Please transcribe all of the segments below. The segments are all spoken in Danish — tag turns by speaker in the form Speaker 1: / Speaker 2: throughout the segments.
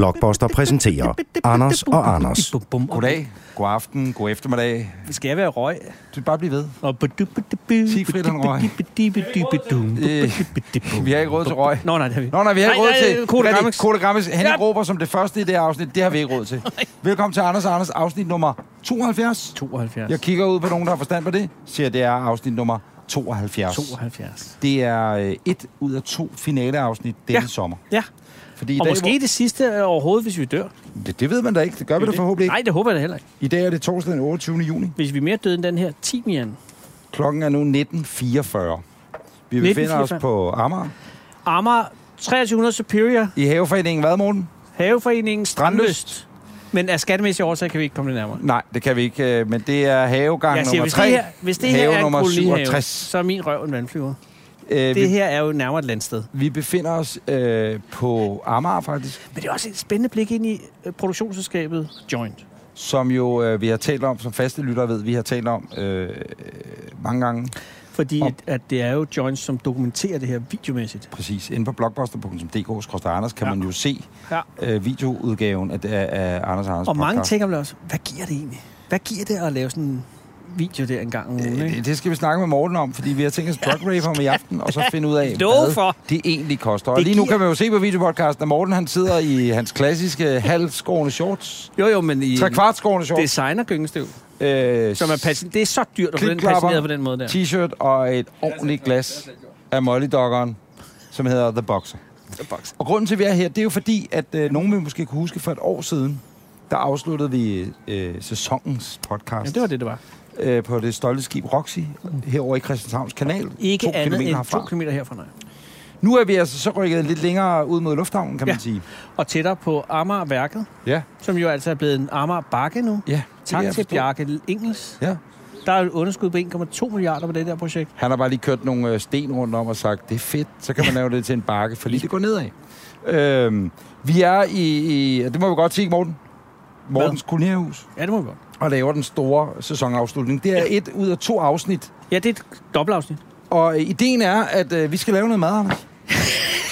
Speaker 1: Blockbuster præsenterer Anders og Anders.
Speaker 2: Goddag, god aften, god eftermiddag.
Speaker 3: Skal jeg være røg?
Speaker 2: Du kan bare blive ved.
Speaker 3: Og
Speaker 2: Sigfrid, han røg. Øh,
Speaker 3: røg.
Speaker 2: Vi har ikke råd til røg.
Speaker 3: Nå, nej, det har vi.
Speaker 2: Nå, nej, vi har ikke
Speaker 3: Nej,
Speaker 2: råd
Speaker 3: nej,
Speaker 2: til...
Speaker 3: Koda
Speaker 2: Hvad er det?
Speaker 3: Grammix.
Speaker 2: Koda Grammix. Han
Speaker 3: Ja.
Speaker 2: ja. råber som det første i det her afsnit. Det har vi ikke råd til. Velkommen til Anders og Anders, afsnit nummer 72.
Speaker 3: 72.
Speaker 2: Jeg kigger ud på nogen, der har forstand på det. Siger, det er afsnit nummer 72.
Speaker 3: 72.
Speaker 2: Det er øh, et ud af to finaleafsnit denne
Speaker 3: Ja.
Speaker 2: sommer.
Speaker 3: Ja,
Speaker 2: Fordi i
Speaker 3: og
Speaker 2: dag,
Speaker 3: måske det sidste øh, overhovedet, hvis vi dør.
Speaker 2: Hvor... Det, det ved man da ikke. Det gør vi da forhåbentlig ikke.
Speaker 3: Nej, det håber jeg da heller ikke.
Speaker 2: I dag er det torsdag den 28. juni.
Speaker 3: Hvis vi er mere døde end den her, timian.
Speaker 2: Klokken er nu 19.44. Vi befinder os
Speaker 3: 19.44.
Speaker 2: på Amager.
Speaker 3: Amager 2300 Superior,
Speaker 2: I haveforeningen hvad, Morten?
Speaker 3: Haveforeningen
Speaker 2: Strandlyst.
Speaker 3: Strandlyst. Men af skattemæssige årsager kan vi ikke komme det nærmere.
Speaker 2: Nej, det kan vi ikke, øh, men det er havegang
Speaker 3: Jeg
Speaker 2: jeg
Speaker 3: siger,
Speaker 2: nummer
Speaker 3: hvis
Speaker 2: 3,
Speaker 3: det her, hvis det her
Speaker 2: have
Speaker 3: er en
Speaker 2: nummer
Speaker 3: kolonihave,
Speaker 2: 67.
Speaker 3: så er min røv en vandflyver.
Speaker 2: Øh,
Speaker 3: Det
Speaker 2: vi,
Speaker 3: her er jo nærmere et landsted.
Speaker 2: vi befinder os øh, på Amager faktisk,
Speaker 3: Men det er også et spændende blik ind i øh, produktionsselskabet Joint.
Speaker 2: som jo øh, vi har talt om, som faste lyttere ved, vi har talt om øh, øh, mange gange,
Speaker 3: Fordi
Speaker 2: Om.
Speaker 3: at, at det er jo Joint, som dokumenterer det her videomæssigt.
Speaker 2: præcis, inde på blogbuster.dk-anders, kan
Speaker 3: Ja.
Speaker 2: ja. man jo se
Speaker 3: Ja.
Speaker 2: øh, videoudgaven af, af, af Anders og Anders
Speaker 3: Og mange
Speaker 2: podcast.
Speaker 3: tænker vel også, hvad giver det egentlig? Hvad giver det at lave sådan en video der en gang om ugen,
Speaker 2: Øh,
Speaker 3: Mm, ikke?
Speaker 2: Det, det skal vi snakke med Morten om, fordi vi har tænkt os drug rave ham i aften, og så finde ud af,
Speaker 3: Lov
Speaker 2: hvad
Speaker 3: for.
Speaker 2: det egentlig koster. Og
Speaker 3: Det
Speaker 2: lige nu
Speaker 3: giver-
Speaker 2: kan man jo se på videopodcasten, at Morten han sidder i hans klassiske halvskårende shorts.
Speaker 3: Jo, jo, men i
Speaker 2: Tre kvart skårende shorts.
Speaker 3: designergyngestøv,
Speaker 2: Øh,
Speaker 3: som er patin- Det er så dyrt at få den
Speaker 2: Klipklapper,
Speaker 3: patineret på den måde der.
Speaker 2: T-shirt og et ordentligt glas af molly som hedder The Boxer. Og grunden til, at vi er her, det er jo fordi, at øh, nogen vil måske kunne huske for et år siden, der afsluttede vi øh, sæsonens podcast
Speaker 3: Ja, det var det, det var.
Speaker 2: Øh, på det stolte skib Roxy, herover i Christianshavns Kanal.
Speaker 3: Mm. Ikke
Speaker 2: to
Speaker 3: andet
Speaker 2: kilometer
Speaker 3: end
Speaker 2: herfra.
Speaker 3: to kilometer herfra, nej.
Speaker 2: Nu er vi altså så rykket lidt længere ud mod lufthavnen, kan
Speaker 3: Ja.
Speaker 2: man sige.
Speaker 3: Og tættere på Amager-værket,
Speaker 2: Ja.
Speaker 3: som jo altså er blevet en Amager-bakke nu.
Speaker 2: Ja, det kan
Speaker 3: Tak
Speaker 2: jeg
Speaker 3: til
Speaker 2: forstå.
Speaker 3: Bjarke Engels.
Speaker 2: Ja.
Speaker 3: Der er et underskud på 1,2 milliarder på det der projekt.
Speaker 2: Han har bare lige kørt nogle øh, sten rundt om og sagt, det er fedt, så kan man lave det til en bakke, for lige det går nedad. Øhm, vi er i, i, det må vi godt sige, Morten, Mortens kolonierhus,
Speaker 3: Ja, det må vi godt.
Speaker 2: og laver den store sæsonafslutning. Det er et ud af to afsnit,
Speaker 3: Ja, det er et dobbeltafsnit.
Speaker 2: og øh, ideen er, at øh, vi skal lave noget mad, Anders.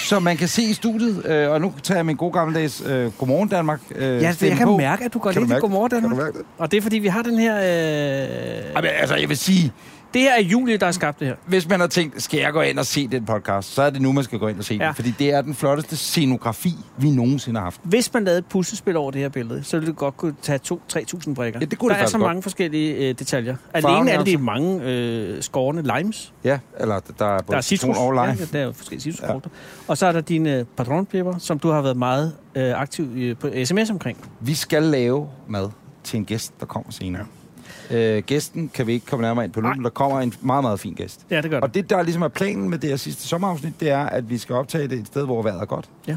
Speaker 2: Så man kan se i studiet, øh, og nu tager jeg min gode gammeldags øh, Godmorgen Danmark øh,
Speaker 3: Ja, det, jeg
Speaker 2: stemme
Speaker 3: kan
Speaker 2: på.
Speaker 3: mærke, at du går
Speaker 2: Kan du
Speaker 3: lidt i
Speaker 2: mærke-
Speaker 3: Godmorgen
Speaker 2: Kan du
Speaker 3: Danmark.
Speaker 2: mærke det?
Speaker 3: Og det er, fordi vi har den her... Øh...
Speaker 2: Jamen, altså, jeg vil sige,
Speaker 3: Det her er Julie, der har skabt det her.
Speaker 2: hvis man har tænkt, skal jeg gå ind og se den podcast, så er det nu, man skal gå ind og se ja.
Speaker 3: Ja.
Speaker 2: den. Fordi det er den flotteste scenografi, vi nogensinde har haft.
Speaker 3: Hvis man lavede et puslespil over det her billede, så ville det godt kunne tage to- 3.000 brikker.
Speaker 2: Ja, det kunne
Speaker 3: der
Speaker 2: det
Speaker 3: er
Speaker 2: faktisk
Speaker 3: så
Speaker 2: godt.
Speaker 3: mange forskellige øh, detaljer.
Speaker 2: Farven
Speaker 3: Alene
Speaker 2: er
Speaker 3: alle de
Speaker 2: også-
Speaker 3: mange øh, skårne limes.
Speaker 2: Ja, eller der er både
Speaker 3: Der er citrus.
Speaker 2: citron og lime.
Speaker 3: Ja, der er jo forskellige citrusfrugter. Og så er der dine patronpipper, som du har været meget øh, aktiv øh, på sms omkring.
Speaker 2: Vi skal lave mad til en gæst, der kommer senere. Øh, gæsten kan vi ikke komme nærmere ind på nu, men der kommer en meget, meget fin gæst.
Speaker 3: Ja, det gør det.
Speaker 2: Og det, der ligesom er planen med det her sidste sommerafsnit, det er, at vi skal optage det et sted, hvor vejret er godt.
Speaker 3: Ja.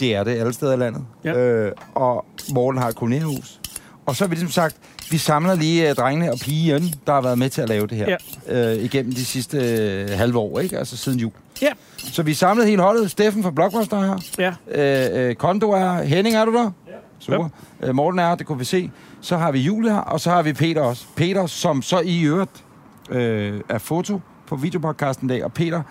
Speaker 2: Det er det alle steder i landet.
Speaker 3: Ja.
Speaker 2: Øh, og Morten har et kolonierhus. Og så har vi ligesom sagt, vi samler lige uh, drengene og pigen, der har været med til at lave det her. Ja. Øh, igennem de sidste øh, halve år, ikke? Altså siden jul.
Speaker 3: Ja,
Speaker 2: Så vi samlede hele holdet. Steffen fra Blockbuster er her.
Speaker 3: ja.
Speaker 2: Øh, øh, Kondo er her. Henning, er du der? Ja. Super. Øh, Morten er her, det kunne vi se. Så har vi Julie her, og så har vi Peter også. Peter, som så i øvrigt øh, er foto på videopodcasten i dag. Og Peter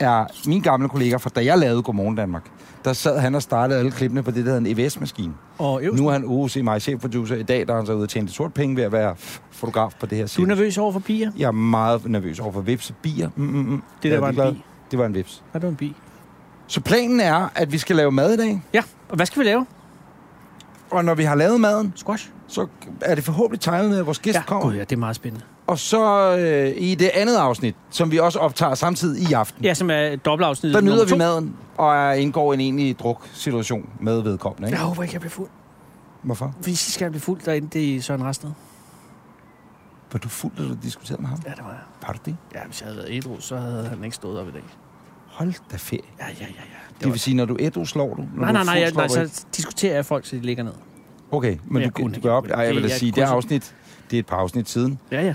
Speaker 2: er min gamle kollega fra da jeg lavede Godmorgen Danmark. Der sad han og startede alle klippene på det, der hedder en EVS-maskine.
Speaker 3: Og øv,
Speaker 2: Nu er han OC, mig chefproducer. I dag der er han så ude og tjene sort penge ved at være f- fotograf på det her
Speaker 3: du er
Speaker 2: cirkus.
Speaker 3: nervøs over for bier?
Speaker 2: Jeg er meget nervøs over for vips og bier. Mm, mm, mm.
Speaker 3: der
Speaker 2: Jeg er
Speaker 3: var en
Speaker 2: ligeglad.
Speaker 3: bi.
Speaker 2: Det var en vips.
Speaker 3: Har du en bi?
Speaker 2: Så planen er, at vi skal lave mad i dag.
Speaker 3: Ja, og hvad skal vi lave?
Speaker 2: Og når vi har lavet maden,
Speaker 3: Squash?
Speaker 2: så er det forhåbentlig tegnet med, at vores gæst
Speaker 3: Ja,
Speaker 2: ja, kommer.
Speaker 3: Gud, ja, det er meget spændende.
Speaker 2: Og så øh, i det andet afsnit, som vi også optager samtidig i aften,
Speaker 3: Ja, som er dobbeltafsnit
Speaker 2: der nyder
Speaker 3: nummer
Speaker 2: vi maden og er- indgår i en egentlig druk-situation med vedkommende.
Speaker 3: Jeg
Speaker 2: Ikke?
Speaker 3: håber ikke, jeg bliver fuld.
Speaker 2: Hvorfor?
Speaker 3: Fordi sidste gang jeg blev fuld, der endte det i Søren Rasted.
Speaker 2: Var du fuld, da du diskuterede med ham?
Speaker 3: Ja, det var jeg.
Speaker 2: Var du det?
Speaker 3: Ja, hvis jeg havde været ædru, så havde han ikke stået op i dag.
Speaker 2: Hold da ferie.
Speaker 3: Ja, ja, ja. ja.
Speaker 2: Det, vil sige, når du ædru slår du? Når
Speaker 3: Nej,
Speaker 2: du
Speaker 3: nej,
Speaker 2: er
Speaker 3: nej,
Speaker 2: fuld,
Speaker 3: jeg,
Speaker 2: slår
Speaker 3: nej,
Speaker 2: du ikke?
Speaker 3: så diskuterer jeg folk, så de ligger ned.
Speaker 2: Okay, men
Speaker 3: jeg
Speaker 2: du,
Speaker 3: kunne
Speaker 2: du
Speaker 3: ikke.
Speaker 2: gør op... Ej, jeg vil da
Speaker 3: Det- jeg
Speaker 2: sige, det her
Speaker 3: kunne-
Speaker 2: afsnit, det er et par afsnit siden,
Speaker 3: Ja, ja.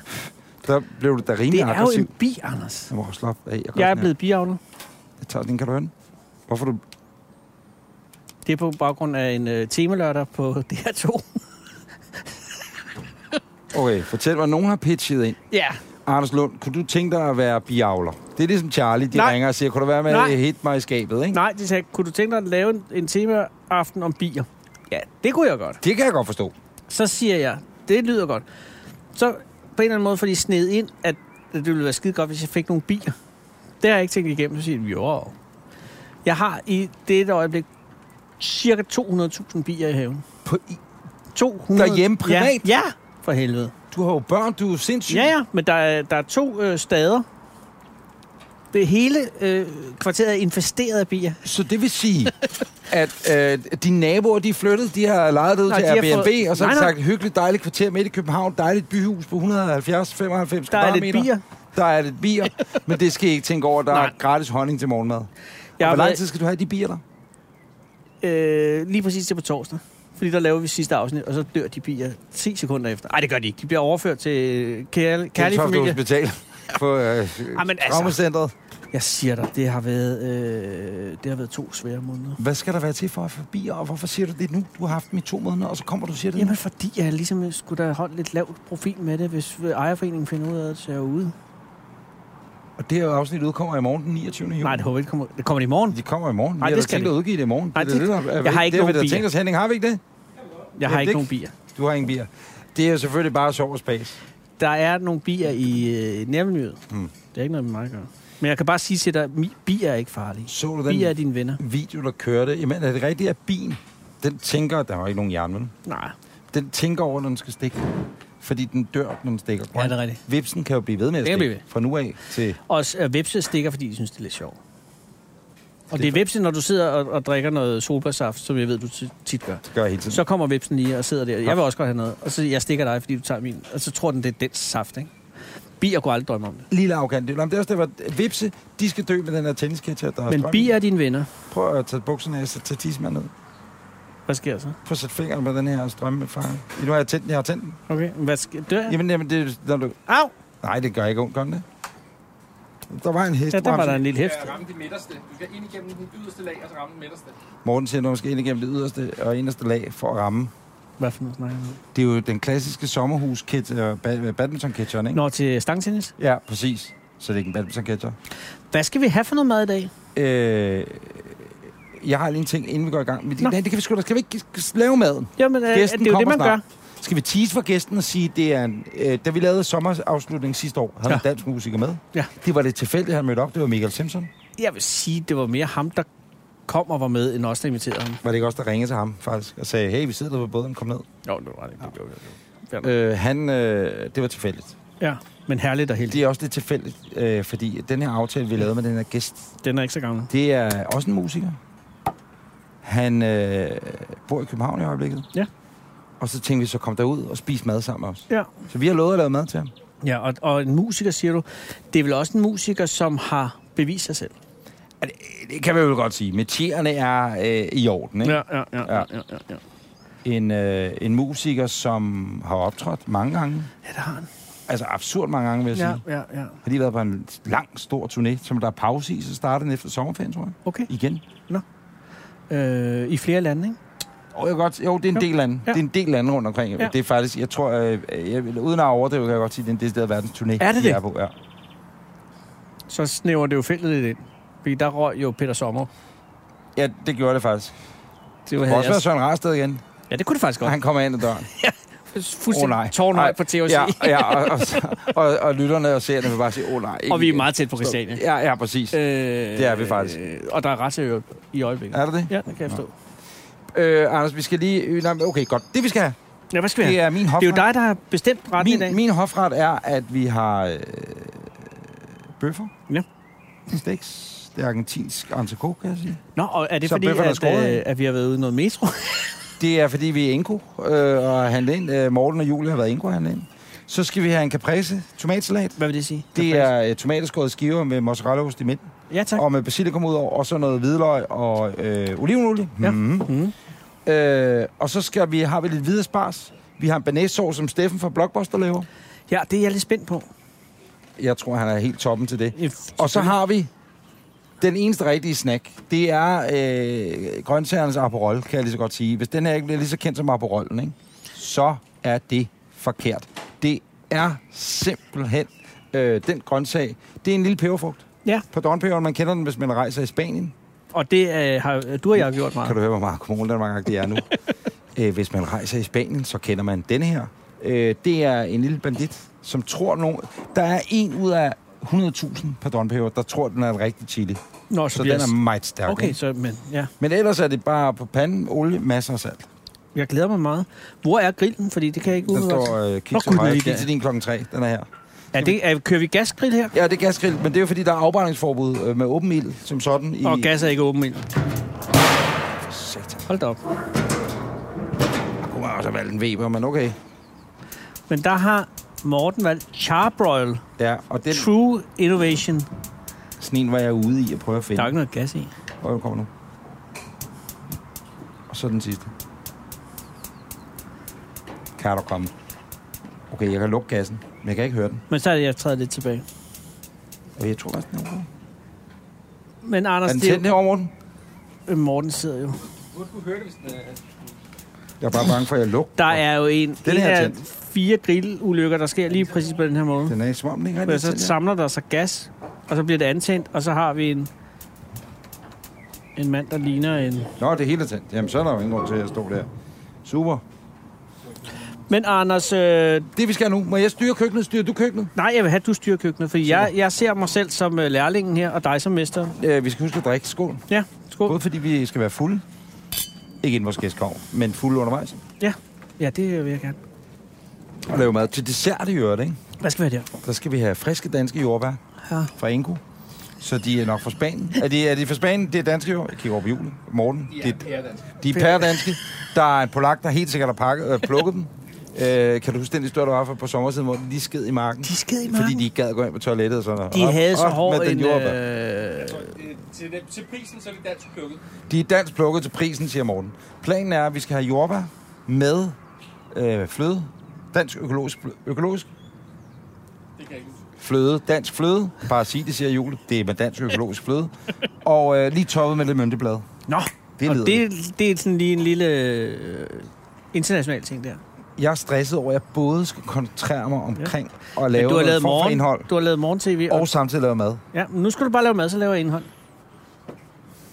Speaker 2: der blev du da
Speaker 3: Det
Speaker 2: rimelig
Speaker 3: er jo
Speaker 2: aggressiv.
Speaker 3: en bi, Anders.
Speaker 2: Jeg må slappe af. gør
Speaker 3: Jeg er
Speaker 2: sådan her.
Speaker 3: blevet biavlet.
Speaker 2: Jeg tager den, kan du høre den? Hvorfor du...
Speaker 3: Det er på baggrund af en øh, temalørdag på DR2.
Speaker 2: Okay, fortæl mig, nogen har pitchet ind.
Speaker 3: ja,
Speaker 2: Anders Lund, kunne du tænke dig at være biavler? Det er ligesom Charlie, de
Speaker 3: Nej.
Speaker 2: ringer og siger, kunne du være med
Speaker 3: Nej.
Speaker 2: at hit mig i skabet, ikke?
Speaker 3: nej, de sagde, kunne du tænke dig at lave en, en temaaften om bier? Ja, det kunne jeg godt.
Speaker 2: Det kan jeg godt forstå.
Speaker 3: Så siger jeg, det lyder godt. Så på en eller anden måde får de snedet ind, at det ville være skide godt, hvis jeg fik nogle bier. Det har jeg ikke tænkt igennem, så siger jeg, jo. Jeg har i dette øjeblik cirka 200.000 bier i haven.
Speaker 2: På, i-
Speaker 3: 200.
Speaker 2: Derhjemme privat?
Speaker 3: Ja, ja for helvede.
Speaker 2: du har jo børn, du er jo sindssyg.
Speaker 3: Ja, ja, men der er, der er to øh, stader. Det hele øh, kvarteret er infesteret af bier.
Speaker 2: Så det vil sige, at øh, dine naboer, de er flyttet, de har lejet det ud
Speaker 3: Nej,
Speaker 2: nej, til
Speaker 3: de har
Speaker 2: Airbnb,
Speaker 3: fået-
Speaker 2: og så har de
Speaker 3: Nej, nej.
Speaker 2: sagt, hyggeligt dejligt kvarter midt i København, dejligt byhus på 170-95 kvadratmeter.
Speaker 3: Der er lidt bier.
Speaker 2: Der er lidt bier, men det skal I ikke tænke over, der er
Speaker 3: Nej.
Speaker 2: gratis honning til morgenmad.
Speaker 3: Jeg
Speaker 2: Jeg
Speaker 3: har
Speaker 2: Hvor lang
Speaker 3: været-
Speaker 2: tid skal du have de bier der?
Speaker 3: Øh, lige præcis til på torsdag. Fordi der laver vi sidste afsnit, og så dør de bier 10 sekunder efter. Nej, det gør de ikke. De bliver overført til øh, kærlig, kærlig
Speaker 2: Det
Speaker 3: familie.
Speaker 2: hospital på øh,
Speaker 3: Ah, men altså.
Speaker 2: traumacentret.
Speaker 3: Jeg siger dig, det har været, øh, det har været to svære måneder.
Speaker 2: Hvad skal der være til for at få bier, og hvorfor siger du det nu? Du har haft dem i to måneder, og så kommer du og siger det
Speaker 3: Jamen, fordi jeg ligesom skulle da holde lidt lavt profil med det, hvis øh, ejerforeningen finder ud af, at jeg er ude.
Speaker 2: nu. Og det her afsnit udkommer i morgen den 29. juni.
Speaker 3: Nej, det håber jeg ikke. Kommer, det kommer i morgen.
Speaker 2: De kommer i
Speaker 3: Nej,
Speaker 2: morgen. vi har
Speaker 3: det
Speaker 2: da
Speaker 3: skal
Speaker 2: tænkt
Speaker 3: vi.
Speaker 2: at udgive det i morgen.
Speaker 3: Nej,
Speaker 2: er
Speaker 3: det-
Speaker 2: da der-
Speaker 3: jeg har ikke
Speaker 2: det, har vi
Speaker 3: nogen
Speaker 2: da
Speaker 3: bier.
Speaker 2: tænkt os, Henning. Har vi ikke det?
Speaker 3: Jeg
Speaker 2: Ja,
Speaker 3: har
Speaker 2: det
Speaker 3: ikke
Speaker 2: ikke-
Speaker 3: nogen bier.
Speaker 2: Du har ingen bier. Det er selvfølgelig bare sov og spas.
Speaker 3: Der er nogle bier i øh, nærmiljøet.
Speaker 2: Hmm.
Speaker 3: Hmm. Det er ikke noget med mig at gøre. Men jeg kan bare sige til dig, mi- bier er ikke farlige.
Speaker 2: Så du den
Speaker 3: Bier er dine venner.
Speaker 2: video, der kørte? Jamen, er det rigtigt, at bien, den tænker... Der var ikke nogen hjerne, vel?
Speaker 3: Nej,
Speaker 2: Den tænker over, når den skal stikke. Fordi den dør, når den stikker.
Speaker 3: ja, det er rigtigt.
Speaker 2: Vipsen kan jo blive ved med at
Speaker 3: Den kan blive
Speaker 2: stikke.
Speaker 3: ved.
Speaker 2: Fra nu af til...
Speaker 3: Og s- øh, vepse stikker, fordi de synes, det er lidt sjovt. Og det
Speaker 2: Det
Speaker 3: er
Speaker 2: er
Speaker 3: vepse, når du sidder og, og drikker noget solbærsaft, som jeg ved, du ti- tit gør.
Speaker 2: Det gør jeg hele tiden.
Speaker 3: Så kommer vepsen lige og sidder der. Jeg vil også godt have noget. Og så jeg stikker dig, fordi du tager min. Og så tror den, det er dens saft, ikke? Bier kunne aldrig drømme om det.
Speaker 2: Lille arrogant. Det er også der, hvor vipse, de skal dø med den her tennisketcher, der har
Speaker 3: Men
Speaker 2: strøm i.
Speaker 3: bier er dine venner.
Speaker 2: Prøv at tage bukserne af, så tage tismanden ned.
Speaker 3: Hvad sker der så?
Speaker 2: Prøv at sætte fingeren på den her strømme, far. Nu har jeg tændt den, jeg har tændt den.
Speaker 3: Okay, hvad sker der?
Speaker 2: Jamen, jamen det, er- når du,
Speaker 3: Au!
Speaker 2: Nej, det gør ikke ondt, gør den det? Der var en hest.
Speaker 3: Ja, der var der en lille hæft.
Speaker 4: skal ramme det midterste. Du skal ind igennem den yderste lag, og så ramme den midterste.
Speaker 2: Morten siger, at man skal ind igennem det yderste og inderste lag for at ramme.
Speaker 3: Hvad for noget snakker jeg om?
Speaker 2: Det er jo den klassiske øh, sommerhus badminton catcher, ikke?
Speaker 3: Når til stangtennis.
Speaker 2: Ja, præcis. Så det er ikke en badminton catcher.
Speaker 3: Hvad skal vi have for noget mad i dag?
Speaker 2: Øh, jeg har lige en ting, inden vi går i gang. Men det,
Speaker 3: Nå.
Speaker 2: nej, det kan vi sgu da. Skal vi ikke s- lave maden?
Speaker 3: Jamen, øh, det
Speaker 2: Gæsten
Speaker 3: er jo det,
Speaker 2: kommer
Speaker 3: man gør.
Speaker 2: snart. Skal vi tease for gæsten og sige, det er en, øh, da vi lavede sommerafslutningen sidste år, havde ja.
Speaker 3: Ja.
Speaker 2: en dansk musiker med.
Speaker 3: Ja.
Speaker 2: Det var lidt tilfældigt, han mødte op. Det var Michael Simpson.
Speaker 3: Jeg vil sige, det var mere ham, der kom og var med, end os, der inviterede ham.
Speaker 2: Var det ikke også der ringede til ham, faktisk, og sagde, hey, vi sidder der på båden, kom ned.
Speaker 3: Jo, det var det. det, gjorde det.
Speaker 2: Øh, han, øh, det var tilfældigt.
Speaker 3: Ja, men herligt og heldigt.
Speaker 2: Det er også lidt tilfældigt, øh, fordi den her aftale, vi lavede med den her gæst,
Speaker 3: Den er ikke så gammel.
Speaker 2: det er også en musiker. Han øh, bor i København i øjeblikket.
Speaker 3: Ja.
Speaker 2: Og så tænkte vi, så kom derud og spise mad sammen med os.
Speaker 3: Ja.
Speaker 2: Så vi har lovet at lave mad til ham.
Speaker 3: Ja, og, og en musiker, siger du, det er vel også en musiker, som har bevist sig selv.
Speaker 2: Ja, Det, det kan vi jo godt sige. Metierne er øh, i orden. Ikke?
Speaker 3: ja,
Speaker 2: Ja.
Speaker 3: ja, ja.
Speaker 2: En, øh, en musiker, som har optrådt mange gange.
Speaker 3: Ja, det har han.
Speaker 2: Altså absurd mange gange, vil jeg ja.
Speaker 3: Ja,
Speaker 2: sige.
Speaker 3: ja, ja.
Speaker 2: Har lige været på en lang, stor turné, som der er pause i, så starter den efter sommerferien, tror jeg.
Speaker 3: Okay.
Speaker 2: Igen.
Speaker 3: Øh, I flere lande, ikke?
Speaker 2: Oh, jeg kan godt, jo, det er en
Speaker 3: Jo.
Speaker 2: del lande. Ja.
Speaker 3: Ja.
Speaker 2: Det er en del lande rundt omkring. Ja.
Speaker 3: Ja.
Speaker 2: Det er faktisk, jeg tror, øh, jeg, vil- uden at overdrive, kan jeg godt sige, at det er en decideret verdensturné.
Speaker 3: Er det
Speaker 2: de
Speaker 3: det?
Speaker 2: Er på, ja.
Speaker 3: Så snæver det jo feltet lidt ind. Fordi der røg jo Peter Sommer.
Speaker 2: ja, det gjorde det faktisk.
Speaker 3: Det
Speaker 2: Det
Speaker 3: var
Speaker 2: kunne også være Søren Rarsted igen,
Speaker 3: Ja, det kunne det faktisk
Speaker 2: og
Speaker 3: godt.
Speaker 2: han kommer ind ad døren. Åh,
Speaker 3: Fuldstændig
Speaker 2: nej.
Speaker 3: oh, tårnhøj
Speaker 2: Nej.
Speaker 3: på TOC.
Speaker 2: Ja, ja og, og, og, og, lytterne og seerne vil bare sige, åh oh, nej. ikke
Speaker 3: Og vi er
Speaker 2: igen."
Speaker 3: meget tæt på Christiania.
Speaker 2: Ja, ja, præcis. Øh, Det er vi faktisk.
Speaker 3: Øh, og der er retssager i øjeblikket.
Speaker 2: er det det?
Speaker 3: Ja, det kan jeg forstå.
Speaker 2: Øh, Anders, vi skal lige... øh, nej, Okay, godt. Det vi skal have,
Speaker 3: Ja, hvad skal vi
Speaker 2: det
Speaker 3: have?
Speaker 2: er min hofret.
Speaker 3: Det er jo dig, der har bestemt retten i dag.
Speaker 2: min, min hofret er, at vi har øh, bøffer.
Speaker 3: Ja.
Speaker 2: Steks. Det er argentinsk entrecote, kan jeg sige.
Speaker 3: Nå, og er det
Speaker 2: Så
Speaker 3: fordi,
Speaker 2: bøfferne er
Speaker 3: at,
Speaker 2: skåret,
Speaker 3: øh, at vi har været ude i noget metro?
Speaker 2: Det er, fordi vi er Inko øh, og handle ind. Øh, Morten og Julie har været Inko og handle ind. Så skal vi have en caprese tomatsalat.
Speaker 3: Hvad vil det sige?
Speaker 2: Det er øh, tomateskåret skiver med mozzarellaost i midten,
Speaker 3: Ja, tak.
Speaker 2: og med basilikum ud over, og så noget hvidløg og øh, olivenolie.
Speaker 3: Ja.
Speaker 2: Mm-hmm.
Speaker 3: Mm.
Speaker 2: Øh, og så skal vi, har vi lidt hvide spars. Vi har en banæssauce, som Steffen fra Blockbuster laver.
Speaker 3: Ja, det er jeg lidt spændt på.
Speaker 2: Jeg tror, han er helt toppen til det.
Speaker 3: Ja,
Speaker 2: Og så har vi den eneste rigtige snack. Det er øh, grøntsagernes Aperol, kan jeg lige så godt sige. Hvis den her ikke bliver lige så kendt som Aperolen, ikke? så er det forkert. Det er simpelthen øh, den grøntsag. Det er en lille peberfrugt.
Speaker 3: Ja,
Speaker 2: På Donpeberen, man kender den, hvis man rejser i Spanien.
Speaker 3: og det øh, har du og jeg gjort meget.
Speaker 2: Kan du høre, hvor meget kommunen Danmark det er nu? øh, hvis man rejser i Spanien, så kender man denne her. Øh, det er en lille bandit, som tror nogen... Der er en ud af 100.000 pardonpeber, der tror, den er en rigtig chili.
Speaker 3: Nå,
Speaker 2: Så
Speaker 3: bliver
Speaker 2: den er
Speaker 3: jeg-
Speaker 2: meget stærk.
Speaker 3: Okay,
Speaker 2: ikke?
Speaker 3: så, men ja.
Speaker 2: Men ellers er det bare på panden, olie, masser af salt.
Speaker 3: Jeg glæder mig meget. Hvor er grillen? Fordi det kan jeg ikke
Speaker 2: Der
Speaker 3: udvide.
Speaker 2: står øh, kig
Speaker 3: Nå,
Speaker 2: til højre,
Speaker 3: gud,
Speaker 2: kig
Speaker 3: ja.
Speaker 2: til din klokken 3. Den er her.
Speaker 3: Er det, er, kører vi gasgrill her?
Speaker 2: Ja, det er gasgrill, men det er jo fordi, der er afbrændingsforbud øh, med åben ild, som sådan. I...
Speaker 3: Og gas er ikke åben ild.
Speaker 2: Satan.
Speaker 3: Hold da op.
Speaker 2: Jeg kunne også have valgt en Weber, men okay.
Speaker 3: Men der har Morten valgt Charbroil
Speaker 2: Ja, og den
Speaker 3: True Innovation.
Speaker 2: snen var jeg ude i at prøve at
Speaker 3: Der
Speaker 2: finde.
Speaker 3: er jo ikke noget gas i.
Speaker 2: Og den kommer nu. Og så den sidste. Kan du komme? Okay, jeg kan lukke gassen, men jeg kan ikke høre den.
Speaker 3: Men så er det, jeg træder lidt tilbage.
Speaker 2: Og jeg tror også, den er okay.
Speaker 3: Men Anders,
Speaker 2: Er den
Speaker 3: det er
Speaker 2: tændt herovre, Morten?
Speaker 3: jo, Morten sidder jo.
Speaker 4: Burde du høre det, hvis den er...
Speaker 2: Jeg er bare bange for, at jeg lukker.
Speaker 3: Der er jo en,
Speaker 2: Den
Speaker 3: en
Speaker 2: her er
Speaker 3: af
Speaker 2: tændt.
Speaker 3: fire grillulykker, der sker lige præcis på den her måde.
Speaker 2: Den er i svampen, ikke
Speaker 3: Men
Speaker 2: rigtig
Speaker 3: så
Speaker 2: tændt her.
Speaker 3: samler der sig gas, og så bliver det antændt, og så har vi en, en mand, der ligner en...
Speaker 2: Nå, det hele er tændt. Jamen, så er der jo ingen grund til, at jeg står der. Super.
Speaker 3: Men Anders, øh,
Speaker 2: Det vi skal nu, må jeg styre køkkenet, styrer du køkkenet?
Speaker 3: nej, jeg vil have, at du styrer køkkenet, for jeg, jeg ser mig selv som øh, lærlingen her, og dig som mester.
Speaker 2: Øh, vi skal huske at drikke. Skål.
Speaker 3: Ja, skål.
Speaker 2: Både fordi vi skal være fulde. Ikke inden vores gæstkov, men fulde undervejs.
Speaker 3: Ja. ja, det vil jeg gerne.
Speaker 2: Og lave mad til dessert i øvrigt, ikke?
Speaker 3: Hvad skal være der?
Speaker 2: Der skal vi have friske danske jordbær
Speaker 3: Ja.
Speaker 2: fra Ingo. Så de er nok fra Spanien. Er de, er de fra Spanien? Det er danske jord. Jeg kigger over på julen. Morten.
Speaker 4: Ja,
Speaker 2: Det,
Speaker 4: det er dansk.
Speaker 2: de er pæredanske. Der er en polak, der helt sikkert har pakket, øh, plukket dem. Øh, kan du huske den historie, der var for på sommersiden, hvor de lige sked i marken?
Speaker 3: De sked i
Speaker 2: Fordi
Speaker 3: marken.
Speaker 2: de ikke gad at gå ind på toilettet og sådan noget.
Speaker 3: De
Speaker 2: Op-
Speaker 3: havde så
Speaker 2: op
Speaker 3: hård
Speaker 2: med den
Speaker 3: en...
Speaker 2: jordbær.
Speaker 3: Øh,
Speaker 4: Så, øh, til, den- til prisen, så er det dansk plukket.
Speaker 2: De er dansk plukket til prisen, siger Morten. Planen er, at vi skal have jordbær med øh, fløde. Dansk økologisk, flø- økologisk
Speaker 4: Det kan jeg ikke huske.
Speaker 2: fløde. Dansk fløde. Bare sig det, siger Jule. Det er med dansk økologisk fløde. Og øh, lige toppet med lidt mynteblad.
Speaker 3: nå,
Speaker 2: Det
Speaker 3: det, og
Speaker 2: lyder
Speaker 3: det, det er sådan lige en lille øh, international ting der.
Speaker 2: Jeg er stresset over, at jeg både skal koncentrere mig omkring at
Speaker 3: Men
Speaker 2: lave
Speaker 3: du har lavet
Speaker 2: noget form for
Speaker 3: morgen,
Speaker 2: indhold,
Speaker 3: Du har lavet morgen-tv.
Speaker 2: og samtidig lave mad.
Speaker 3: Ja, men nu skal du bare lave mad, så laver jeg indhold.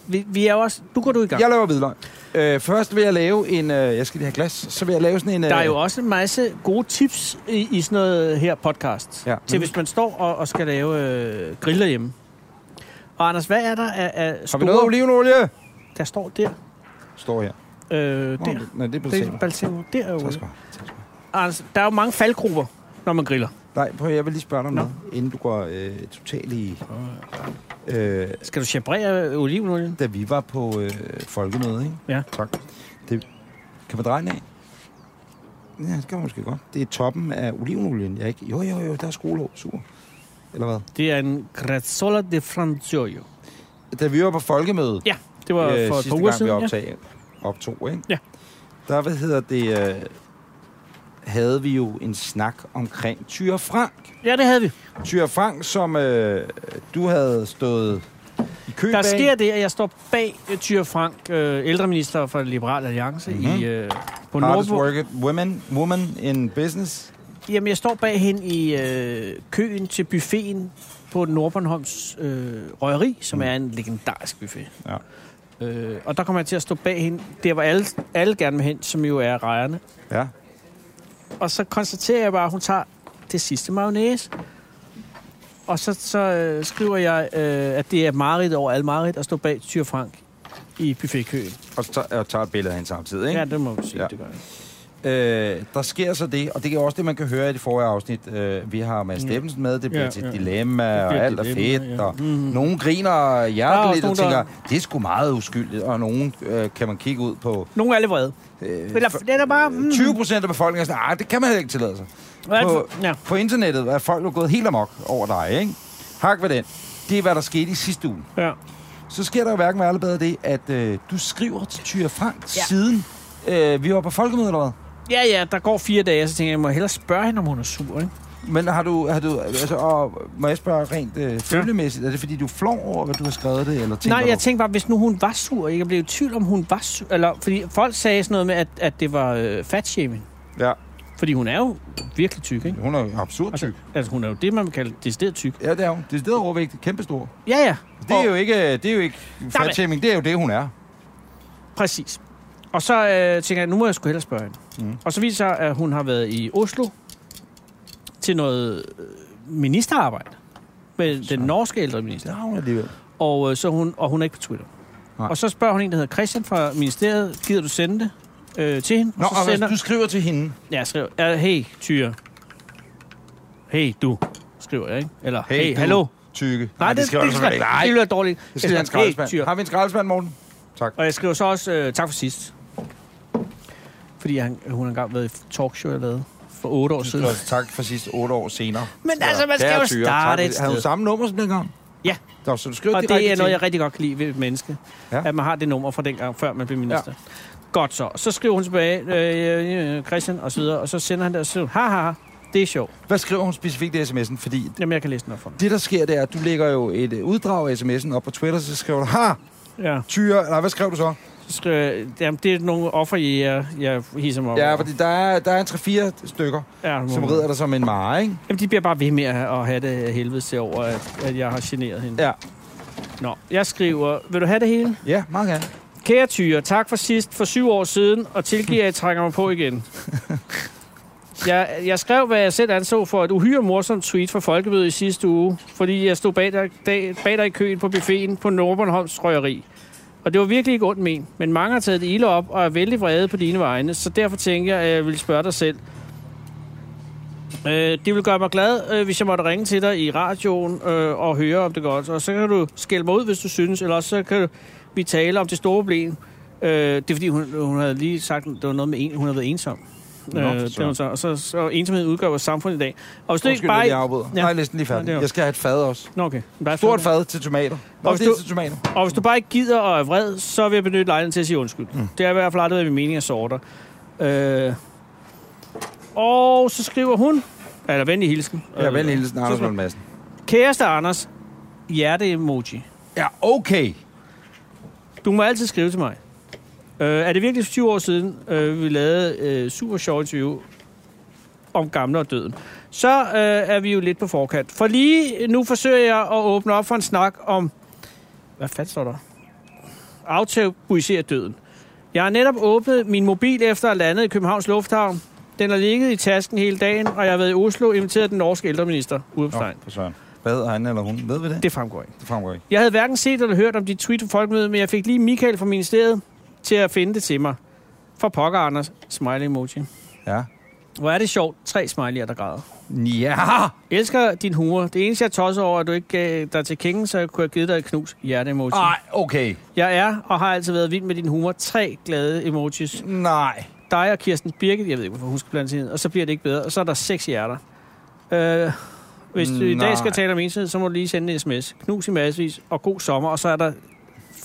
Speaker 3: Vi, vi er jo også... Du går du i gang.
Speaker 2: Jeg laver hvidløg. Øh, først vil jeg lave en... Øh, jeg skal lige have glas. Så vil jeg lave sådan en... Øh,
Speaker 3: Der er jo også en masse gode tips i, i sådan noget her podcast.
Speaker 2: Ja.
Speaker 3: Til hvis man står og, og skal lave øh, griller hjemme. Og Anders, hvad er der af, af
Speaker 2: Har vi noget
Speaker 3: store...
Speaker 2: olivenolie?
Speaker 3: Der står der.
Speaker 2: Står her.
Speaker 3: Øh, der.
Speaker 2: Nå, det- Nej, det er på
Speaker 3: Det er balsamo. Der er
Speaker 2: Tak
Speaker 3: jo.
Speaker 2: skal du have. Tak skal du have.
Speaker 3: Anders, der er jo mange faldgrupper, når man griller.
Speaker 2: Nej, prøv, at- jeg vil lige spørge dig om
Speaker 3: Nå.
Speaker 2: noget, inden du går øh, totalt i... Øh,
Speaker 3: Skal du chabrere øh, olivenolien?
Speaker 2: da vi var på øh, folkemødet, ikke?
Speaker 3: Ja.
Speaker 2: Tak. Det, kan man dreje den af? Ja, det kan man måske godt. Det er toppen af olivenolien, jeg ikke... Jo, jo, jo, der er skruelåg. Super. Eller hvad?
Speaker 3: Det er en grazzola de franzoio.
Speaker 2: Da vi var på folkemødet, øh,
Speaker 3: Ja, det var for et
Speaker 2: sidste
Speaker 3: par uger
Speaker 2: gang, vi
Speaker 3: siden. Ja.
Speaker 2: optag, optog, ikke?
Speaker 3: Ja.
Speaker 2: Der, hvad hedder det... Øh, havde vi jo en snak omkring Tyre Frank.
Speaker 3: ja, det havde vi.
Speaker 2: Tyre Frank, som øh, du havde stået i kø
Speaker 3: Der
Speaker 2: bag.
Speaker 3: sker det, at jeg står bag øh, Thyre Frank, øh, ældreminister for Liberal Alliance, mm-hmm. i, øh, på
Speaker 2: Hardest
Speaker 3: Nordborg.
Speaker 2: working women, woman in business.
Speaker 3: Jamen, jeg står bag hende i øh, køen til buffeten på Nordbornholms øh, Røgeri, som mm. er en legendarisk buffet.
Speaker 2: Ja.
Speaker 3: Øh, og der kommer jeg til at stå bag hende. Det var alle, alle gerne med hen, som jo er rejerne.
Speaker 2: Ja.
Speaker 3: Og så konstaterer jeg bare, at hun tager det sidste mayonnaise. Og så, så øh, skriver jeg, øh, at det er Marit over alle Marit at stå bag Tyre Frank i buffetkøen.
Speaker 2: Og, så, og tager et billede af hende samtidig. Ikke?
Speaker 3: Ja, det må vi sige,
Speaker 2: Ja.
Speaker 3: ja. det gør jeg.
Speaker 2: Øh, der sker så det, og det er også det, man kan høre i det forrige afsnit. Øh, vi har Mads Steffensen med, det bliver
Speaker 3: Mm. Ja,
Speaker 2: til
Speaker 3: ja.
Speaker 2: et dilemma, og
Speaker 3: bliver et
Speaker 2: alt er
Speaker 3: dilemma,
Speaker 2: fedt,
Speaker 3: ja. Mm-hmm.
Speaker 2: og nogen griner hjerteligt
Speaker 3: Der er
Speaker 2: og
Speaker 3: også
Speaker 2: tænker,
Speaker 3: nogen,
Speaker 2: det er sgu meget uskyldigt, og nogen øh, kan man kigge ud på.
Speaker 3: Nogle er lidt vrede.
Speaker 2: Øh,
Speaker 3: Eller, det er da bare... Mm,
Speaker 2: 20 procent af befolkningen er sådan, "Ah, det kan man heller ikke tillade sig.
Speaker 3: Hvad er det
Speaker 2: På,
Speaker 3: for- ja.
Speaker 2: på internettet er folk jo gået helt amok over dig, ikke? Hak ved den. Det er, hvad der skete i sidste uge.
Speaker 3: Ja.
Speaker 2: så sker der jo hverken værre eller bedre det, at øh, du skriver til Tyre Frank ja. siden øh, vi var på folkemødet eller hvad?
Speaker 3: ja, ja, der går fire dage, så tænker jeg, jeg må hellere spørge hende, om hun er sur, ikke?
Speaker 2: Men har du, har du altså, og må jeg spørge rent øh, følemæssigt, er det fordi du flår over, hvad du har skrevet det, eller tænker
Speaker 3: Nej, jeg
Speaker 2: du?
Speaker 3: tænkte bare, hvis nu hun var sur, ikke? jeg blev i tvivl om, hun var sur. Eller, fordi folk sagde sådan noget med, at, at det var øh, fatshaming.
Speaker 2: Ja,
Speaker 3: Fordi hun er jo virkelig tyk, ikke?
Speaker 2: hun er jo absurd
Speaker 3: Altså,
Speaker 2: tyk.
Speaker 3: altså, hun er jo det, man vil kalde decideret tyk.
Speaker 2: Ja, det er hun. Det er stedet overvægtigt. Kæmpestor.
Speaker 3: Ja, ja.
Speaker 2: Det er jo ikke, det er jo ikke
Speaker 3: men-
Speaker 2: fatshaming, det er jo det, hun er.
Speaker 3: Præcis. Og så øh, tænker jeg, nu må jeg sgu hellere spørge hende. Mm. Og så viser det sig, at hun har været i Oslo til noget øh, ministerarbejde med den norske ældreminister.
Speaker 2: Der har hun alligevel.
Speaker 3: Og, øh, så hun, og hun er ikke på Twitter.
Speaker 2: Nej.
Speaker 3: Nej. Og så spørger hun en, der hedder Christian fra ministeriet, gider du sende det øh, til hende?
Speaker 2: Nå,
Speaker 3: og
Speaker 2: og
Speaker 3: så
Speaker 2: hvis
Speaker 3: sender...
Speaker 2: du skriver til hende,
Speaker 3: Ja, jeg skriver, ja, hey, Tyre. Hey, du, skriver jeg, ikke? Eller, hey, hey
Speaker 2: du.
Speaker 3: hallo.
Speaker 2: tykke.
Speaker 3: Nej, det, det,
Speaker 2: skriver du
Speaker 3: det, det,
Speaker 2: selvfølgelig ikke.
Speaker 3: det, det lyder dårligt.
Speaker 2: Det skal
Speaker 3: Jeg
Speaker 2: en
Speaker 3: skriver, hey,
Speaker 2: skraldespand.
Speaker 3: Tyre.
Speaker 2: Har vi en skraldespand, Morten?
Speaker 3: Og jeg skriver så også øh, tak for sidst. Fordi han, hun har engang været i et talkshow, jeg lavede for otte år siden.
Speaker 2: Tak for sidst otte år senere.
Speaker 3: Men altså, man skal
Speaker 2: Kære
Speaker 3: jo
Speaker 2: Tyre,
Speaker 3: starte
Speaker 2: tak.
Speaker 3: et
Speaker 2: Har du
Speaker 3: sted.
Speaker 2: samme nummer som dengang?
Speaker 3: Ja.
Speaker 2: Nå, så du skriver
Speaker 3: Og
Speaker 2: direkte
Speaker 3: det er noget,
Speaker 2: til
Speaker 3: jeg rigtig godt kan lide ved et menneske.
Speaker 2: Ja.
Speaker 3: Ja. At man har det nummer fra dengang, før man blev minister. Ja. Godt så. Så skriver hun tilbage, øh, øh, Christian og så videre, og så sender han der og siger, ha, ha, ha, det er sjovt.
Speaker 2: Hvad skriver hun specifikt i sms'en? Fordi
Speaker 3: Jamen, jeg kan læse den op for dig.
Speaker 2: det, der sker, det er, at du lægger jo et øh, uddrag af sms'en op på Twitter, så skriver du, ha,
Speaker 3: Ja.
Speaker 2: tyre, nej, hvad skrev du så?
Speaker 3: Så skriver, jamen, det er nogle offer, jeg, jeg hisser mig op
Speaker 2: Ja,
Speaker 3: over.
Speaker 2: fordi der er, der er en 3-4 stykker,
Speaker 3: ja,
Speaker 2: som
Speaker 3: må-
Speaker 2: rider dig som en mare, ikke?
Speaker 3: Jamen, de bliver bare ved med at at have det af helvede til over, at, at jeg har generet hende.
Speaker 2: Ja.
Speaker 3: Nå, jeg skriver, vil du have det hele?
Speaker 2: Ja, meget gerne.
Speaker 3: Kære Tyre, tak for sidst for syv år siden, og tilgiver, at jeg trænger mig på igen. Jeg, jeg skrev, hvad jeg selv anså for et uhyre morsomt tweet fra Folkemødet i sidste uge, fordi jeg stod bag dig, dag, bag dig i køen på buffeten på Nordbornholms Røgeri. Og det var virkelig ikke ondt men, men mange har taget det ilde op og er vældig vrede på dine vegne, så derfor tænker jeg, at jeg vil spørge dig selv. Øh, det ville gøre mig glad, øh, hvis jeg måtte ringe til dig i radioen øh, og høre om det godt. Og så kan du skælde mig ud, hvis du synes, eller også så kan vi tale om det store problem. Øh, det er fordi, hun, hun havde lige sagt, at det var noget med, en, hun havde været ensom.
Speaker 2: Nå,
Speaker 3: Nå, øh,
Speaker 2: for
Speaker 3: det
Speaker 2: søren.
Speaker 3: var hun så, og så, så ensomhed udgør vores samfund i dag. Og hvis du ikke
Speaker 2: Undskyld, at
Speaker 3: bare...
Speaker 2: jeg afbryder. Ja.
Speaker 3: Ja.
Speaker 2: Nej, læs den lige færdig.
Speaker 3: Ja, det er-
Speaker 2: Jeg skal have et fad også.
Speaker 3: Nå, okay. Bare
Speaker 2: Stort fad til tomater. Nå,
Speaker 3: Og hvis
Speaker 2: det er
Speaker 3: du-
Speaker 2: til tomater.
Speaker 3: Og hvis du bare ikke gider og er vred, så vil jeg benytte lejligheden til at sige undskyld. Mm. Det er i hvert fald aldrig været min mening at sorte. Øh, og så skriver hun, eller venlig hilsen.
Speaker 2: Ja, vel hilsen,
Speaker 3: Så
Speaker 2: Anders
Speaker 3: skriver-
Speaker 2: Lund Madsen.
Speaker 3: Kæreste Anders, hjerte-emoji.
Speaker 2: Ja, okay.
Speaker 3: Du må altid skrive til mig. Øh, er det virkelig 20 år siden, øh, vi lavede øh, super sjov interview om gamle og døden? Så øh, er vi jo lidt på forkant. For lige nu forsøger jeg at åbne op for en snak om... Hvad fanden står der? Aftabuisere døden. Jeg har netop åbnet min mobil efter at landet i Københavns Lufthavn. Den har ligget i tasken hele dagen, og jeg har været i Oslo inviteret den norske ældreminister.
Speaker 2: Nå,
Speaker 3: Udopstegn.
Speaker 2: for søren. Hvad hedder han eller hun? Ved vi det?
Speaker 3: Det fremgår ikke.
Speaker 2: Det fremgår ikke.
Speaker 3: Jeg havde hverken set eller hørt om dit tweet fra folkemødet, men jeg fik lige Michael fra ministeriet til at finde det til mig. For pokker, Anders. Smiley emoji.
Speaker 2: Ja.
Speaker 3: Hvor er det sjovt. Tre smiley'er, der græder.
Speaker 2: Ja!
Speaker 3: Jeg elsker din humor. Det eneste, jeg tosser over, er, at du ikke gav dig til kængen, så jeg kunne have givet dig et knus hjerte-emoji.
Speaker 2: Nej, okay.
Speaker 3: Jeg er og har altid været vild med din humor. Tre glade emojis.
Speaker 2: Nej.
Speaker 3: Dig og Kirsten Birgit, jeg ved ikke, hvorfor hun skal blande sig ind, og så bliver det ikke bedre. Og så er der seks hjerter. Øh, hvis du i
Speaker 2: Nej.
Speaker 3: dag skal tale om ensomhed, så må du lige sende en sms. Knus i massevis, og god sommer, og så er der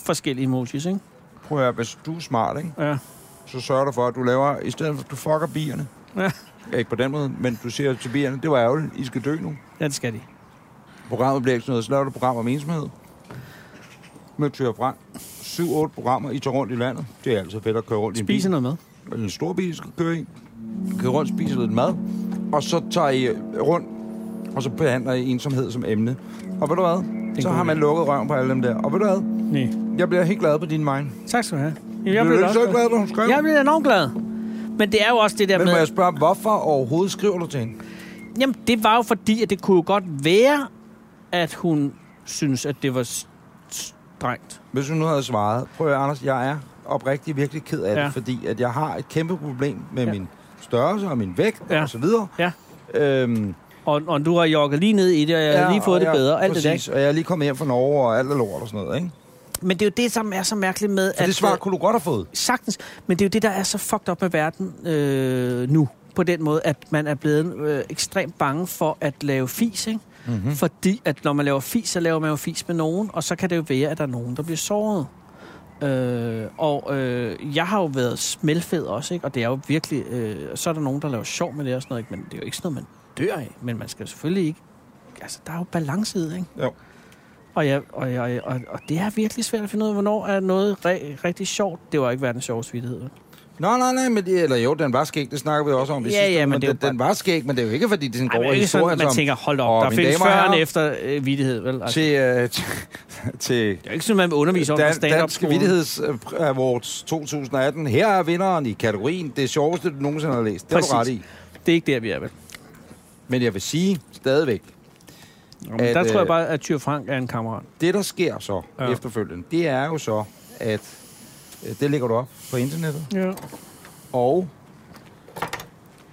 Speaker 3: forskellige emojis, ikke?
Speaker 2: Prøv at høre, hvis du er smart, ikke?
Speaker 3: Ja.
Speaker 2: så sørger du for, at du laver, i stedet for at du fucker bierne.
Speaker 3: Ja.
Speaker 2: Ikke på den måde, men du siger til bierne, det var ærgerligt, I skal dø nu.
Speaker 3: Ja, det skal de.
Speaker 2: Programmet bliver ikke sådan noget, så laver du et program om ensomhed. Med Tyre Frank. 7-8 programmer, I tager rundt i landet. Det er altid fedt at køre rundt
Speaker 3: Spise
Speaker 2: i en
Speaker 3: noget mad.
Speaker 2: bil. En stor bil, I skal køre i. Køre rundt, spise lidt mad. Og så tager I øh, rundt, og så behandler I ensomhed som emne. Og ved du hvad?
Speaker 3: en
Speaker 2: Så
Speaker 3: god
Speaker 2: har man
Speaker 3: idé.
Speaker 2: lukket røven på alle dem der. Og ved du hvad?
Speaker 3: Nej.
Speaker 2: Jeg bliver helt glad på din mind.
Speaker 3: Tak skal du have. Jamen,
Speaker 2: Jeg
Speaker 3: jeg blev
Speaker 2: blev du ikke
Speaker 3: også
Speaker 2: så
Speaker 3: glad.
Speaker 2: glad, da hun skrev?
Speaker 3: Jeg blev enormt glad. Men det er jo også det der
Speaker 2: Men må jeg
Speaker 3: med...
Speaker 2: spørge, hvorfor overhovedet skriver du til hende?
Speaker 3: Jamen, det var jo fordi, at det kunne jo godt være, at hun synes, at det var s- strengt.
Speaker 2: Hvis hun nu havde svaret, prøv at høre, Anders, jeg er oprigtigt virkelig ked af det, ja.
Speaker 3: Ja.
Speaker 2: fordi at jeg har et kæmpe problem med ja.
Speaker 3: Ja.
Speaker 2: min størrelse og min vægt ja.
Speaker 3: Ja.
Speaker 2: og så videre.
Speaker 3: Ja.
Speaker 2: Øhm,
Speaker 3: Og, og du har jogget lige ned i det, og jeg har lige fået
Speaker 2: og
Speaker 3: det
Speaker 2: jeg-
Speaker 3: bedre. Alt det
Speaker 2: præcis,
Speaker 3: der.
Speaker 2: og jeg er lige kommet hjem fra Norge, og alt er lort og sådan noget, ikke?
Speaker 3: ikke? Men det er jo det, som er så mærkeligt med...
Speaker 2: For
Speaker 3: at, øh,
Speaker 2: det svar kunne du godt have fået.
Speaker 3: Sagtens. Men det er jo det, der er så fucked op med verden øh, nu. På den måde, at man er blevet øh, ekstremt bange for at lave fis, ikke? Mm-hmm. Fordi at når man laver fis, så laver man jo fis med nogen, og så kan det jo være, at der er nogen, der bliver såret. Øh, og øh, jeg har jo været smelfed også, ikke? Og det er jo virkelig... Øh, og så er der nogen, der laver sjov med det og sådan noget, ikke? Men det er jo ikke sådan noget, man dør af. Men man skal jo selvfølgelig ikke... Altså, der er jo balance i det, ikke?
Speaker 2: Jo.
Speaker 3: Og, jeg, og, jeg, og, og det er virkelig svært at finde ud af, hvornår er noget re- rigtig sjovt. Det var ikke verdens sjoveste vittighed.
Speaker 2: Nå, nej, nej, men det, eller jo, den var skæg, det snakker vi også om. i
Speaker 3: Ja,
Speaker 2: sidste
Speaker 3: ja,
Speaker 2: uge,
Speaker 3: men det er jo
Speaker 2: den, den, var skæg, men det er jo ikke, fordi det er sådan
Speaker 3: Ej, men det
Speaker 2: en grov
Speaker 3: er ikke
Speaker 2: historie.
Speaker 3: sådan, man
Speaker 2: som-
Speaker 3: tænker, hold op, der
Speaker 2: "Åh, mine
Speaker 3: findes
Speaker 2: damer og
Speaker 3: før og
Speaker 2: herrer,
Speaker 3: efter øh, vidighed, vel? Altså, det
Speaker 2: Til, øh, til
Speaker 3: er jo ikke sådan, man vil undervise om Dan,
Speaker 2: Dan,
Speaker 3: stand-up
Speaker 2: Dansk Vittigheds øh, Awards 2018. Her er vinderen i kategorien Det sjoveste, du nogensinde har læst. Det er du
Speaker 3: Præcis.
Speaker 2: ret i.
Speaker 3: Det er ikke der, vi er, vel?
Speaker 2: Men jeg vil sige stadigvæk,
Speaker 3: Nå,
Speaker 2: At,
Speaker 3: at, der tror
Speaker 2: øh,
Speaker 3: jeg bare, at Tyr Frank er en kammerat.
Speaker 2: det der sker så ja.
Speaker 3: Ja.
Speaker 2: efterfølgende, det er jo så, at øh, det ligger du op på internettet,
Speaker 3: Ja.
Speaker 2: og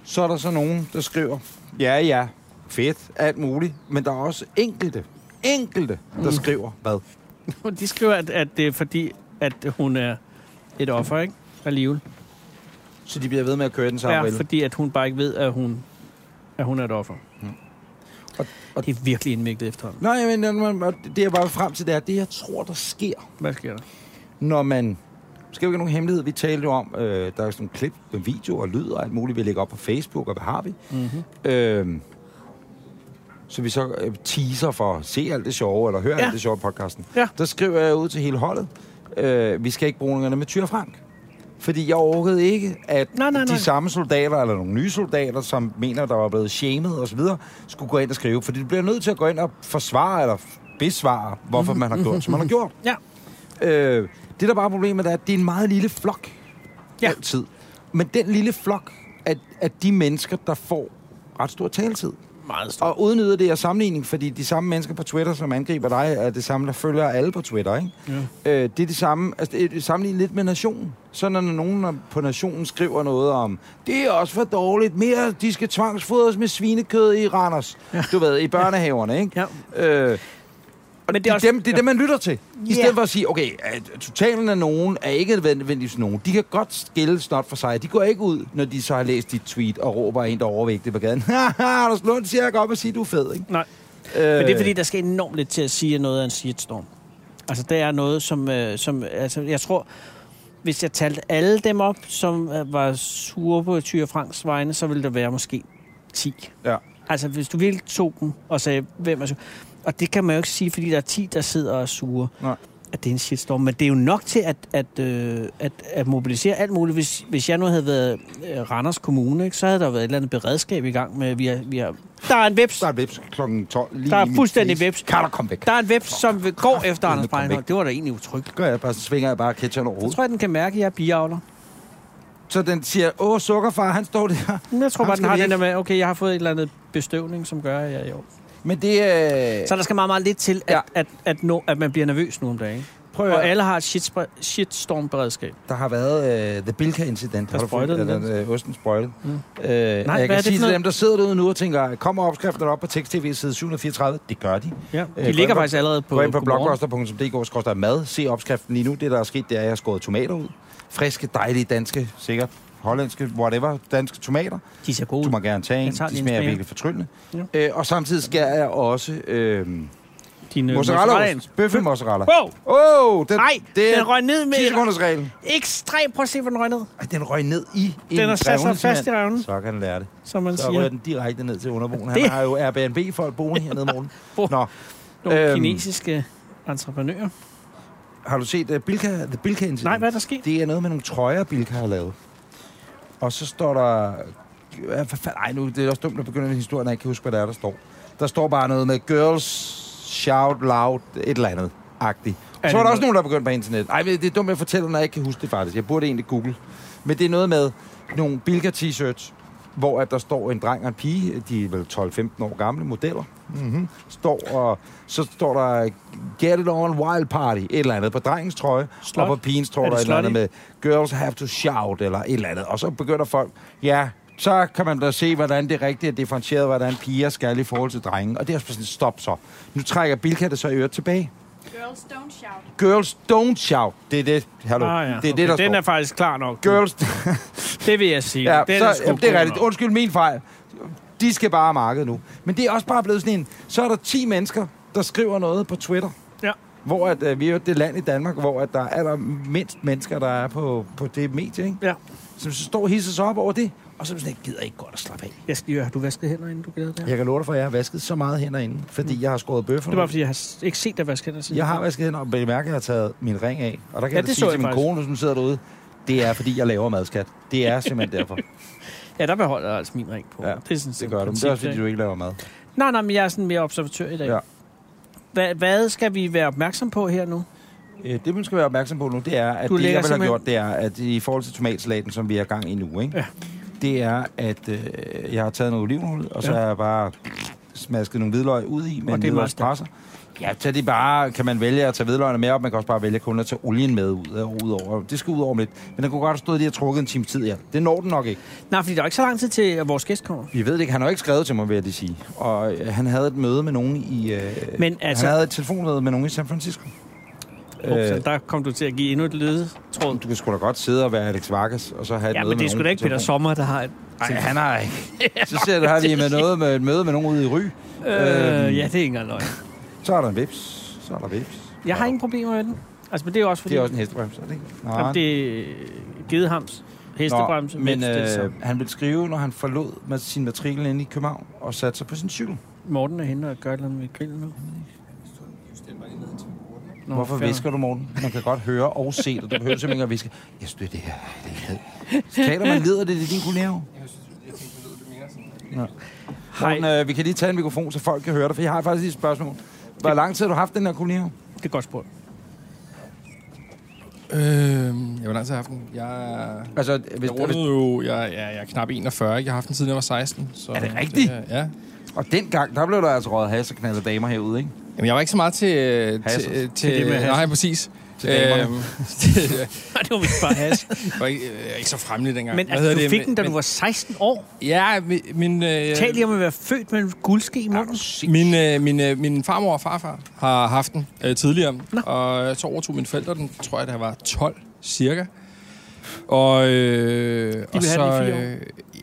Speaker 2: så er der så nogen, der skriver, ja, ja, fedt, alt muligt, men der er også enkelte, enkelte, der
Speaker 3: Mm.
Speaker 2: skriver, hvad?
Speaker 3: De skriver, at, at det er fordi, at hun er et offer, ikke? Alligevel.
Speaker 2: Så de bliver ved med at køre i den samme
Speaker 3: Ja,
Speaker 2: rille.
Speaker 3: fordi at hun bare ikke ved, at hun, at hun er et offer.
Speaker 2: Og-
Speaker 3: Og,
Speaker 2: Mm. og-
Speaker 3: og det er virkelig indviklet efterhånden.
Speaker 2: Nej, men øh, og det jeg bare vil frem til, det er, det jeg tror, der sker,
Speaker 3: Hvad sker der?
Speaker 2: når man... Skal jo ikke have nogen hemmelighed. Vi talte jo om, øh, der er sådan nogle klip med video og lyd og alt muligt, vi lægger op på Facebook, og hvad har vi?
Speaker 3: Mhm.
Speaker 2: Mm-hmm. Øh, så vi så øh, teaser for at se alt det sjove, eller høre ja.
Speaker 3: Ja.
Speaker 2: alt det sjove i podcasten.
Speaker 3: Ja.
Speaker 2: Der skriver jeg ud til hele holdet, øh, vi skal ikke bruge nogen med Tyre Frank. Fordi jeg orkede ikke, at
Speaker 3: Nej, nej, nej.
Speaker 2: de samme soldater, eller nogle nye soldater, som mener, der var blevet shamed osv., skulle gå ind og skrive. Fordi du bliver nødt til at gå ind og forsvare, eller besvare,
Speaker 3: Mhm.
Speaker 2: hvorfor man har gjort, som man har gjort.
Speaker 3: Ja.
Speaker 2: Øh, det, der bare er problemet, er, at det er en meget lille flok. Ja.
Speaker 3: Ja.
Speaker 2: Altid. Men den lille flok af, af de mennesker, der får ret stor taletid.
Speaker 3: Meget stort.
Speaker 2: Og udnyder det af sammenligning, fordi de samme mennesker på Twitter, som angriber dig, er det samme, der følger alle på Twitter, ikke? Ja. Øh, det er det samme, altså det er sammenlignet lidt med nationen. Så når nogen på nationen skriver noget om, det er også for dårligt, mere de skal tvangsfodres med svinekød i Randers, ja. du ved, i børnehaverne, ikke?
Speaker 3: Ja.
Speaker 2: Øh, og
Speaker 3: Men
Speaker 2: det er, også, dem, det er dem, man lytter til. I
Speaker 3: Ja.
Speaker 2: stedet for at sige, okay, at totalen af nogen er ikke nødvendigvis nogen. De kan godt skille snot for sig. De går ikke ud, når de så har læst dit tweet og råber en, der er overvægtig på gaden. Haha, Anders Lund siger, jeg går op og siger, du er fed, ikke?
Speaker 3: Nej.
Speaker 2: Øh,
Speaker 3: Men det er fordi, der skal enormt lidt til at sige at noget af en shitstorm. Altså, det er noget, som... Øh, som altså, jeg tror, hvis jeg talte alle dem op, som øh, var sure på Tyre Franks vegne, så ville der være måske 10.
Speaker 2: Ja.
Speaker 3: Altså, hvis du virkelig tog dem og sagde, hvem er sur... Og det kan man jo ikke sige, fordi der er 10, der sidder og er sure.
Speaker 2: Nej.
Speaker 3: At det er en shitstorm. Men det er jo nok til at, at, øh, at, at mobilisere alt muligt. Hvis, hvis jeg nu havde været øh, Randers Kommune, ikke, så havde der været et eller andet beredskab i gang med, vi har, vi har, der er en vips.
Speaker 2: Der er vips klokken 12. Lige
Speaker 3: Der er
Speaker 2: i mit
Speaker 3: fuldstændig
Speaker 2: fnis.
Speaker 3: veps.
Speaker 2: Kan der komme væk?
Speaker 3: Der er en web, som vil- går efter
Speaker 2: den
Speaker 3: Anders
Speaker 2: kom
Speaker 3: Breinholt.
Speaker 2: væk.
Speaker 3: Det var da egentlig utryggeligt.
Speaker 2: Gør jeg bare, så svinger jeg bare ketchup over
Speaker 3: Jeg
Speaker 2: hovedet.
Speaker 3: tror, jeg, den kan mærke, at jeg er biavler.
Speaker 2: Så den siger, åh, sukkerfar, han står der.
Speaker 3: Men jeg tror
Speaker 2: Ham
Speaker 3: bare,
Speaker 2: skal
Speaker 3: den har
Speaker 2: vi
Speaker 3: den der
Speaker 2: ikke-
Speaker 3: med, okay, jeg har fået et eller andet bestøvning, som gør, at jeg er i år.
Speaker 2: Men det er... Øh...
Speaker 3: Så der skal meget, meget lidt til, at,
Speaker 2: Ja.
Speaker 3: ja. at, at, nå, at man bliver nervøs nu om dagen.
Speaker 2: Prøv
Speaker 3: Og
Speaker 2: høre.
Speaker 3: alle har et shitspre- shitstorm-beredskab.
Speaker 2: Der har været uh, The Bilka-incident. Har du
Speaker 3: sprøjtede
Speaker 2: fået-
Speaker 3: den,
Speaker 2: eller, øh, Osten sprøjtet. Mm. Øh, Nej, jeg
Speaker 3: hvad er det
Speaker 2: kan sige
Speaker 3: for
Speaker 2: til
Speaker 3: noget?
Speaker 2: dem, der sidder derude nu og tænker, kommer opskrifterne op på tekst-tv side 734? Det gør de.
Speaker 3: Ja.
Speaker 2: Øh,
Speaker 3: De
Speaker 2: gå ind
Speaker 3: ligger
Speaker 2: på-
Speaker 3: faktisk allerede på,
Speaker 2: Gå ind på
Speaker 3: Godmorgen.
Speaker 2: blogbuster.dk mad. Se opskriften lige nu. Det, der er sket, det er, at jeg har skåret tomater ud. Friske, dejlige danske, sikkert hollandske, whatever, danske tomater.
Speaker 3: De ser gode.
Speaker 2: Du må
Speaker 3: ud.
Speaker 2: gerne tage en.
Speaker 3: Jeg
Speaker 2: De
Speaker 3: tager lige en
Speaker 2: smager
Speaker 3: smag.
Speaker 2: virkelig fortryllende. Øh, og samtidig skærer jeg også øh,
Speaker 3: Dine
Speaker 2: mozzarella.
Speaker 3: mozzarellaost.
Speaker 2: Bøffe-mozzarella.
Speaker 3: Wow!
Speaker 2: Åh, oh, den,
Speaker 3: Nej,
Speaker 2: det
Speaker 3: den
Speaker 2: er
Speaker 3: røg ned med...
Speaker 2: 10 sekunders reglen.
Speaker 3: Ekstremt. Prøv at se, hvor den røg ned,
Speaker 2: Ej, den røg ned i en
Speaker 3: Den har sat sig
Speaker 2: revne,
Speaker 3: fast
Speaker 2: simpelthen.
Speaker 3: i revnen.
Speaker 2: Så kan han lære det.
Speaker 3: som man
Speaker 2: Så
Speaker 3: siger.
Speaker 2: rører den direkte ned til underboen. Han
Speaker 3: Det-
Speaker 2: har jo Airbnb-folk boende hernede morgen.
Speaker 3: Hvor-
Speaker 2: Nå,
Speaker 3: Nogle
Speaker 2: Øhm.
Speaker 3: kinesiske entreprenører.
Speaker 2: har du set uh, Bilka, The Bilka Incident?
Speaker 3: Nej, hvad er der sket?
Speaker 2: Det er noget med nogle trøjer, Bilka har lavet. Og så står der... Ja, Hvad fanden? Ej, nu det er også dumt at begynde en historie, når jeg ikke kan huske, hvad der er, der står. Der står bare noget med girls shout loud, et eller andet. Agtigt.
Speaker 3: Er
Speaker 2: Så
Speaker 3: det
Speaker 2: var der
Speaker 3: noget-
Speaker 2: også nogen, der begyndte på internet. Ej, men det er dumt, jeg fortæller, når jeg ikke kan huske det faktisk. Jeg burde egentlig google. Men det er noget med nogle Bilka t-shirts, hvor at der står en dreng og en pige, de er vel 12-15 år gamle modeller,
Speaker 3: Mhm.
Speaker 2: mm-hmm. står og så står der Get it on wild party, et eller andet på drengens trøje,
Speaker 3: Slot?
Speaker 2: og på pigens
Speaker 3: Er
Speaker 2: tror der
Speaker 3: det
Speaker 2: et eller andet
Speaker 3: slutty?
Speaker 2: med, girls have to shout, eller et eller andet. Og så begynder folk, ja, så kan man da se, hvordan det rigtigt er differentieret, hvordan piger skal i forhold til drenge. Og det er også sådan, stop så. Nu trækker Bilka det så i øret tilbage.
Speaker 5: Girls don't shout.
Speaker 2: Girls don't shout. Det er det, hallo.
Speaker 3: Ah, ja.
Speaker 2: Det er det, der
Speaker 3: okay, den
Speaker 2: står.
Speaker 3: er faktisk klar nok.
Speaker 2: Girls,
Speaker 3: Det vil jeg sige.
Speaker 2: ja,
Speaker 3: den
Speaker 2: så,
Speaker 3: er
Speaker 2: er
Speaker 3: sgu
Speaker 2: jamen, det
Speaker 3: god
Speaker 2: er rigtigt.
Speaker 3: nok.
Speaker 2: Undskyld min fejl. De skal bare have markedet nu. Men det er også bare blevet sådan en, så er der 10 mennesker, der skriver noget på Twitter.
Speaker 3: Ja.
Speaker 2: Hvor at, øh, vi er jo det land i Danmark, hvor at der er der mindst mennesker, der er på, på det medie, ikke?
Speaker 3: Ja.
Speaker 2: som så står og hisser sig op over det, og så er man sådan, jeg gider ikke godt at slappe af.
Speaker 3: Jeg skal lige høre, har du vasket hænder, inden du gjorde det her?
Speaker 2: Jeg kan love dig for, at jeg har vasket så meget hænder inden, fordi jeg har skåret bøffer.
Speaker 3: Det var, fordi jeg har s- ikke set dig vaske hænder siden.
Speaker 2: Jeg har vasket hænder, og bemærket, at jeg har taget min ring af. Og der kan
Speaker 3: Ja,
Speaker 2: jeg da
Speaker 3: det så
Speaker 2: sige til
Speaker 3: jeg
Speaker 2: min
Speaker 3: faktisk.
Speaker 2: kone, som sidder derude, Det er, fordi jeg laver madskat. Det er simpelthen derfor.
Speaker 3: Ja, der beholder jeg altså min ring på.
Speaker 2: Ja,
Speaker 3: det, er sådan,
Speaker 2: Det gør du. Men det er også, fordi du ikke laver mad.
Speaker 3: Nej, nej, men jeg er sådan mere observatør i dag.
Speaker 2: Ja.
Speaker 3: Hva, hvad skal vi være opmærksom på her nu?
Speaker 2: Øh, Det, man skal være opmærksom på nu, det er, at
Speaker 3: Du
Speaker 2: du det,
Speaker 3: lægger
Speaker 2: jeg vil have
Speaker 3: simpelthen-
Speaker 2: gjort, det er, at i forhold til tomatsalaten, som vi er i gang i nu, ikke?
Speaker 3: Ja.
Speaker 2: det er, at øh, jeg har taget noget olivenolie, og så
Speaker 3: Ja.
Speaker 2: har jeg bare smasket nogle hvidløg ud i med
Speaker 3: Og
Speaker 2: en
Speaker 3: det er meget
Speaker 2: hvidløgspresser. Ja, så det er bare, kan man vælge at tage hvidløgene med op, man kan også bare vælge kun at tage olien med ud, øh, ud over. Det skal ud over om lidt. Men den kunne godt have stået lige og trukket en time tid, ja. Det når den nok ikke.
Speaker 3: Nej, fordi der er ikke så lang tid til, at vores gæst kommer.
Speaker 2: Vi ved det ikke, han har jo ikke skrevet til mig, vil jeg lige sige. Og øh, han havde et møde med nogen i... Øh,
Speaker 3: Men altså-
Speaker 2: Han havde et telefonmøde med nogen i San Francisco.
Speaker 3: Øh. Der kom du til at give endnu et ledetråd.
Speaker 2: Du kan sgu da godt sidde og være Alex Vargas, og så have et
Speaker 3: Ja,
Speaker 2: møde
Speaker 3: men det er sgu da ikke Peter Sommer, der har et...
Speaker 2: Nej, han har ikke. Så ser du her lige med noget med et møde med nogen ude i Ry. Øhm.
Speaker 3: Øh, ja, det er ikke engang løgn.
Speaker 2: Så er der en vips. Så er der vips.
Speaker 3: Jeg har ingen problemer med den. Altså, men det er jo også fordi...
Speaker 2: Det er også en hestebremse, er det ikke? Nej.
Speaker 3: Jamen, det er gedehams, hestebremse,
Speaker 2: Nå, men øh, han ville skrive, når han forlod med sin matrikel inde i København og satte sig på sin cykel.
Speaker 3: Morten er henne og gør et eller andet med grillen nu.
Speaker 4: Stil mig lige ned til bordet. ikke?
Speaker 3: Nå,
Speaker 2: Hvorfor
Speaker 3: fair.
Speaker 2: visker du, Morten? Man kan godt høre og se det. Du behøver simpelthen ikke at viske. Jeg synes, det er det her. Det er det. Taler man lider det, det er din kollega.
Speaker 4: Jeg synes, jeg tænkte, det lød lidt mere sådan.
Speaker 3: Hej,
Speaker 2: Morten, øh, vi kan lige tage en mikrofon, så folk kan høre dig, for jeg har faktisk lige et spørgsmål. Hvor lang tid har du haft den her kollega?
Speaker 3: det er godt spurgt.
Speaker 5: Øh, jeg var lang tid aften. Jeg, er-
Speaker 2: Altså, hvis,
Speaker 5: jeg
Speaker 2: hvis,
Speaker 5: rundede jo... Jeg, jeg, jeg er knap 41, ikke? Jeg har haft den siden jeg var 16. Så
Speaker 2: Er det rigtigt?
Speaker 5: øh, ja.
Speaker 2: og dengang, der blev der altså røget has og knaldet damer herude, ikke?
Speaker 5: Jamen, jeg var ikke så meget til... øh,
Speaker 2: Hasselt.
Speaker 5: Til, øh,
Speaker 3: Til det
Speaker 5: til
Speaker 3: med hasselt.
Speaker 5: nej, præcis.
Speaker 2: Til damerne.
Speaker 5: til-
Speaker 3: Nej, det var vist bare has.
Speaker 5: jeg var ikke, øh, ikke så fremmelig dengang.
Speaker 3: Men
Speaker 5: Hvad
Speaker 3: altså,
Speaker 5: hedder
Speaker 3: du
Speaker 5: det?
Speaker 3: fik den, da
Speaker 5: Men-
Speaker 3: du var 16 år.
Speaker 5: Ja, mi- min... Øh,
Speaker 3: Tal lige om at være født med en guldske i munden.
Speaker 5: Min, øh, min, øh, min farmor og farfar har haft den øh, tidligere,
Speaker 3: Nå.
Speaker 5: Nå. og øh, så overtog mine forældre den, tror jeg, da jeg var 12 cirka. Og, øh,
Speaker 3: have
Speaker 5: og
Speaker 3: den i
Speaker 5: så,
Speaker 3: fire år?
Speaker 5: øh,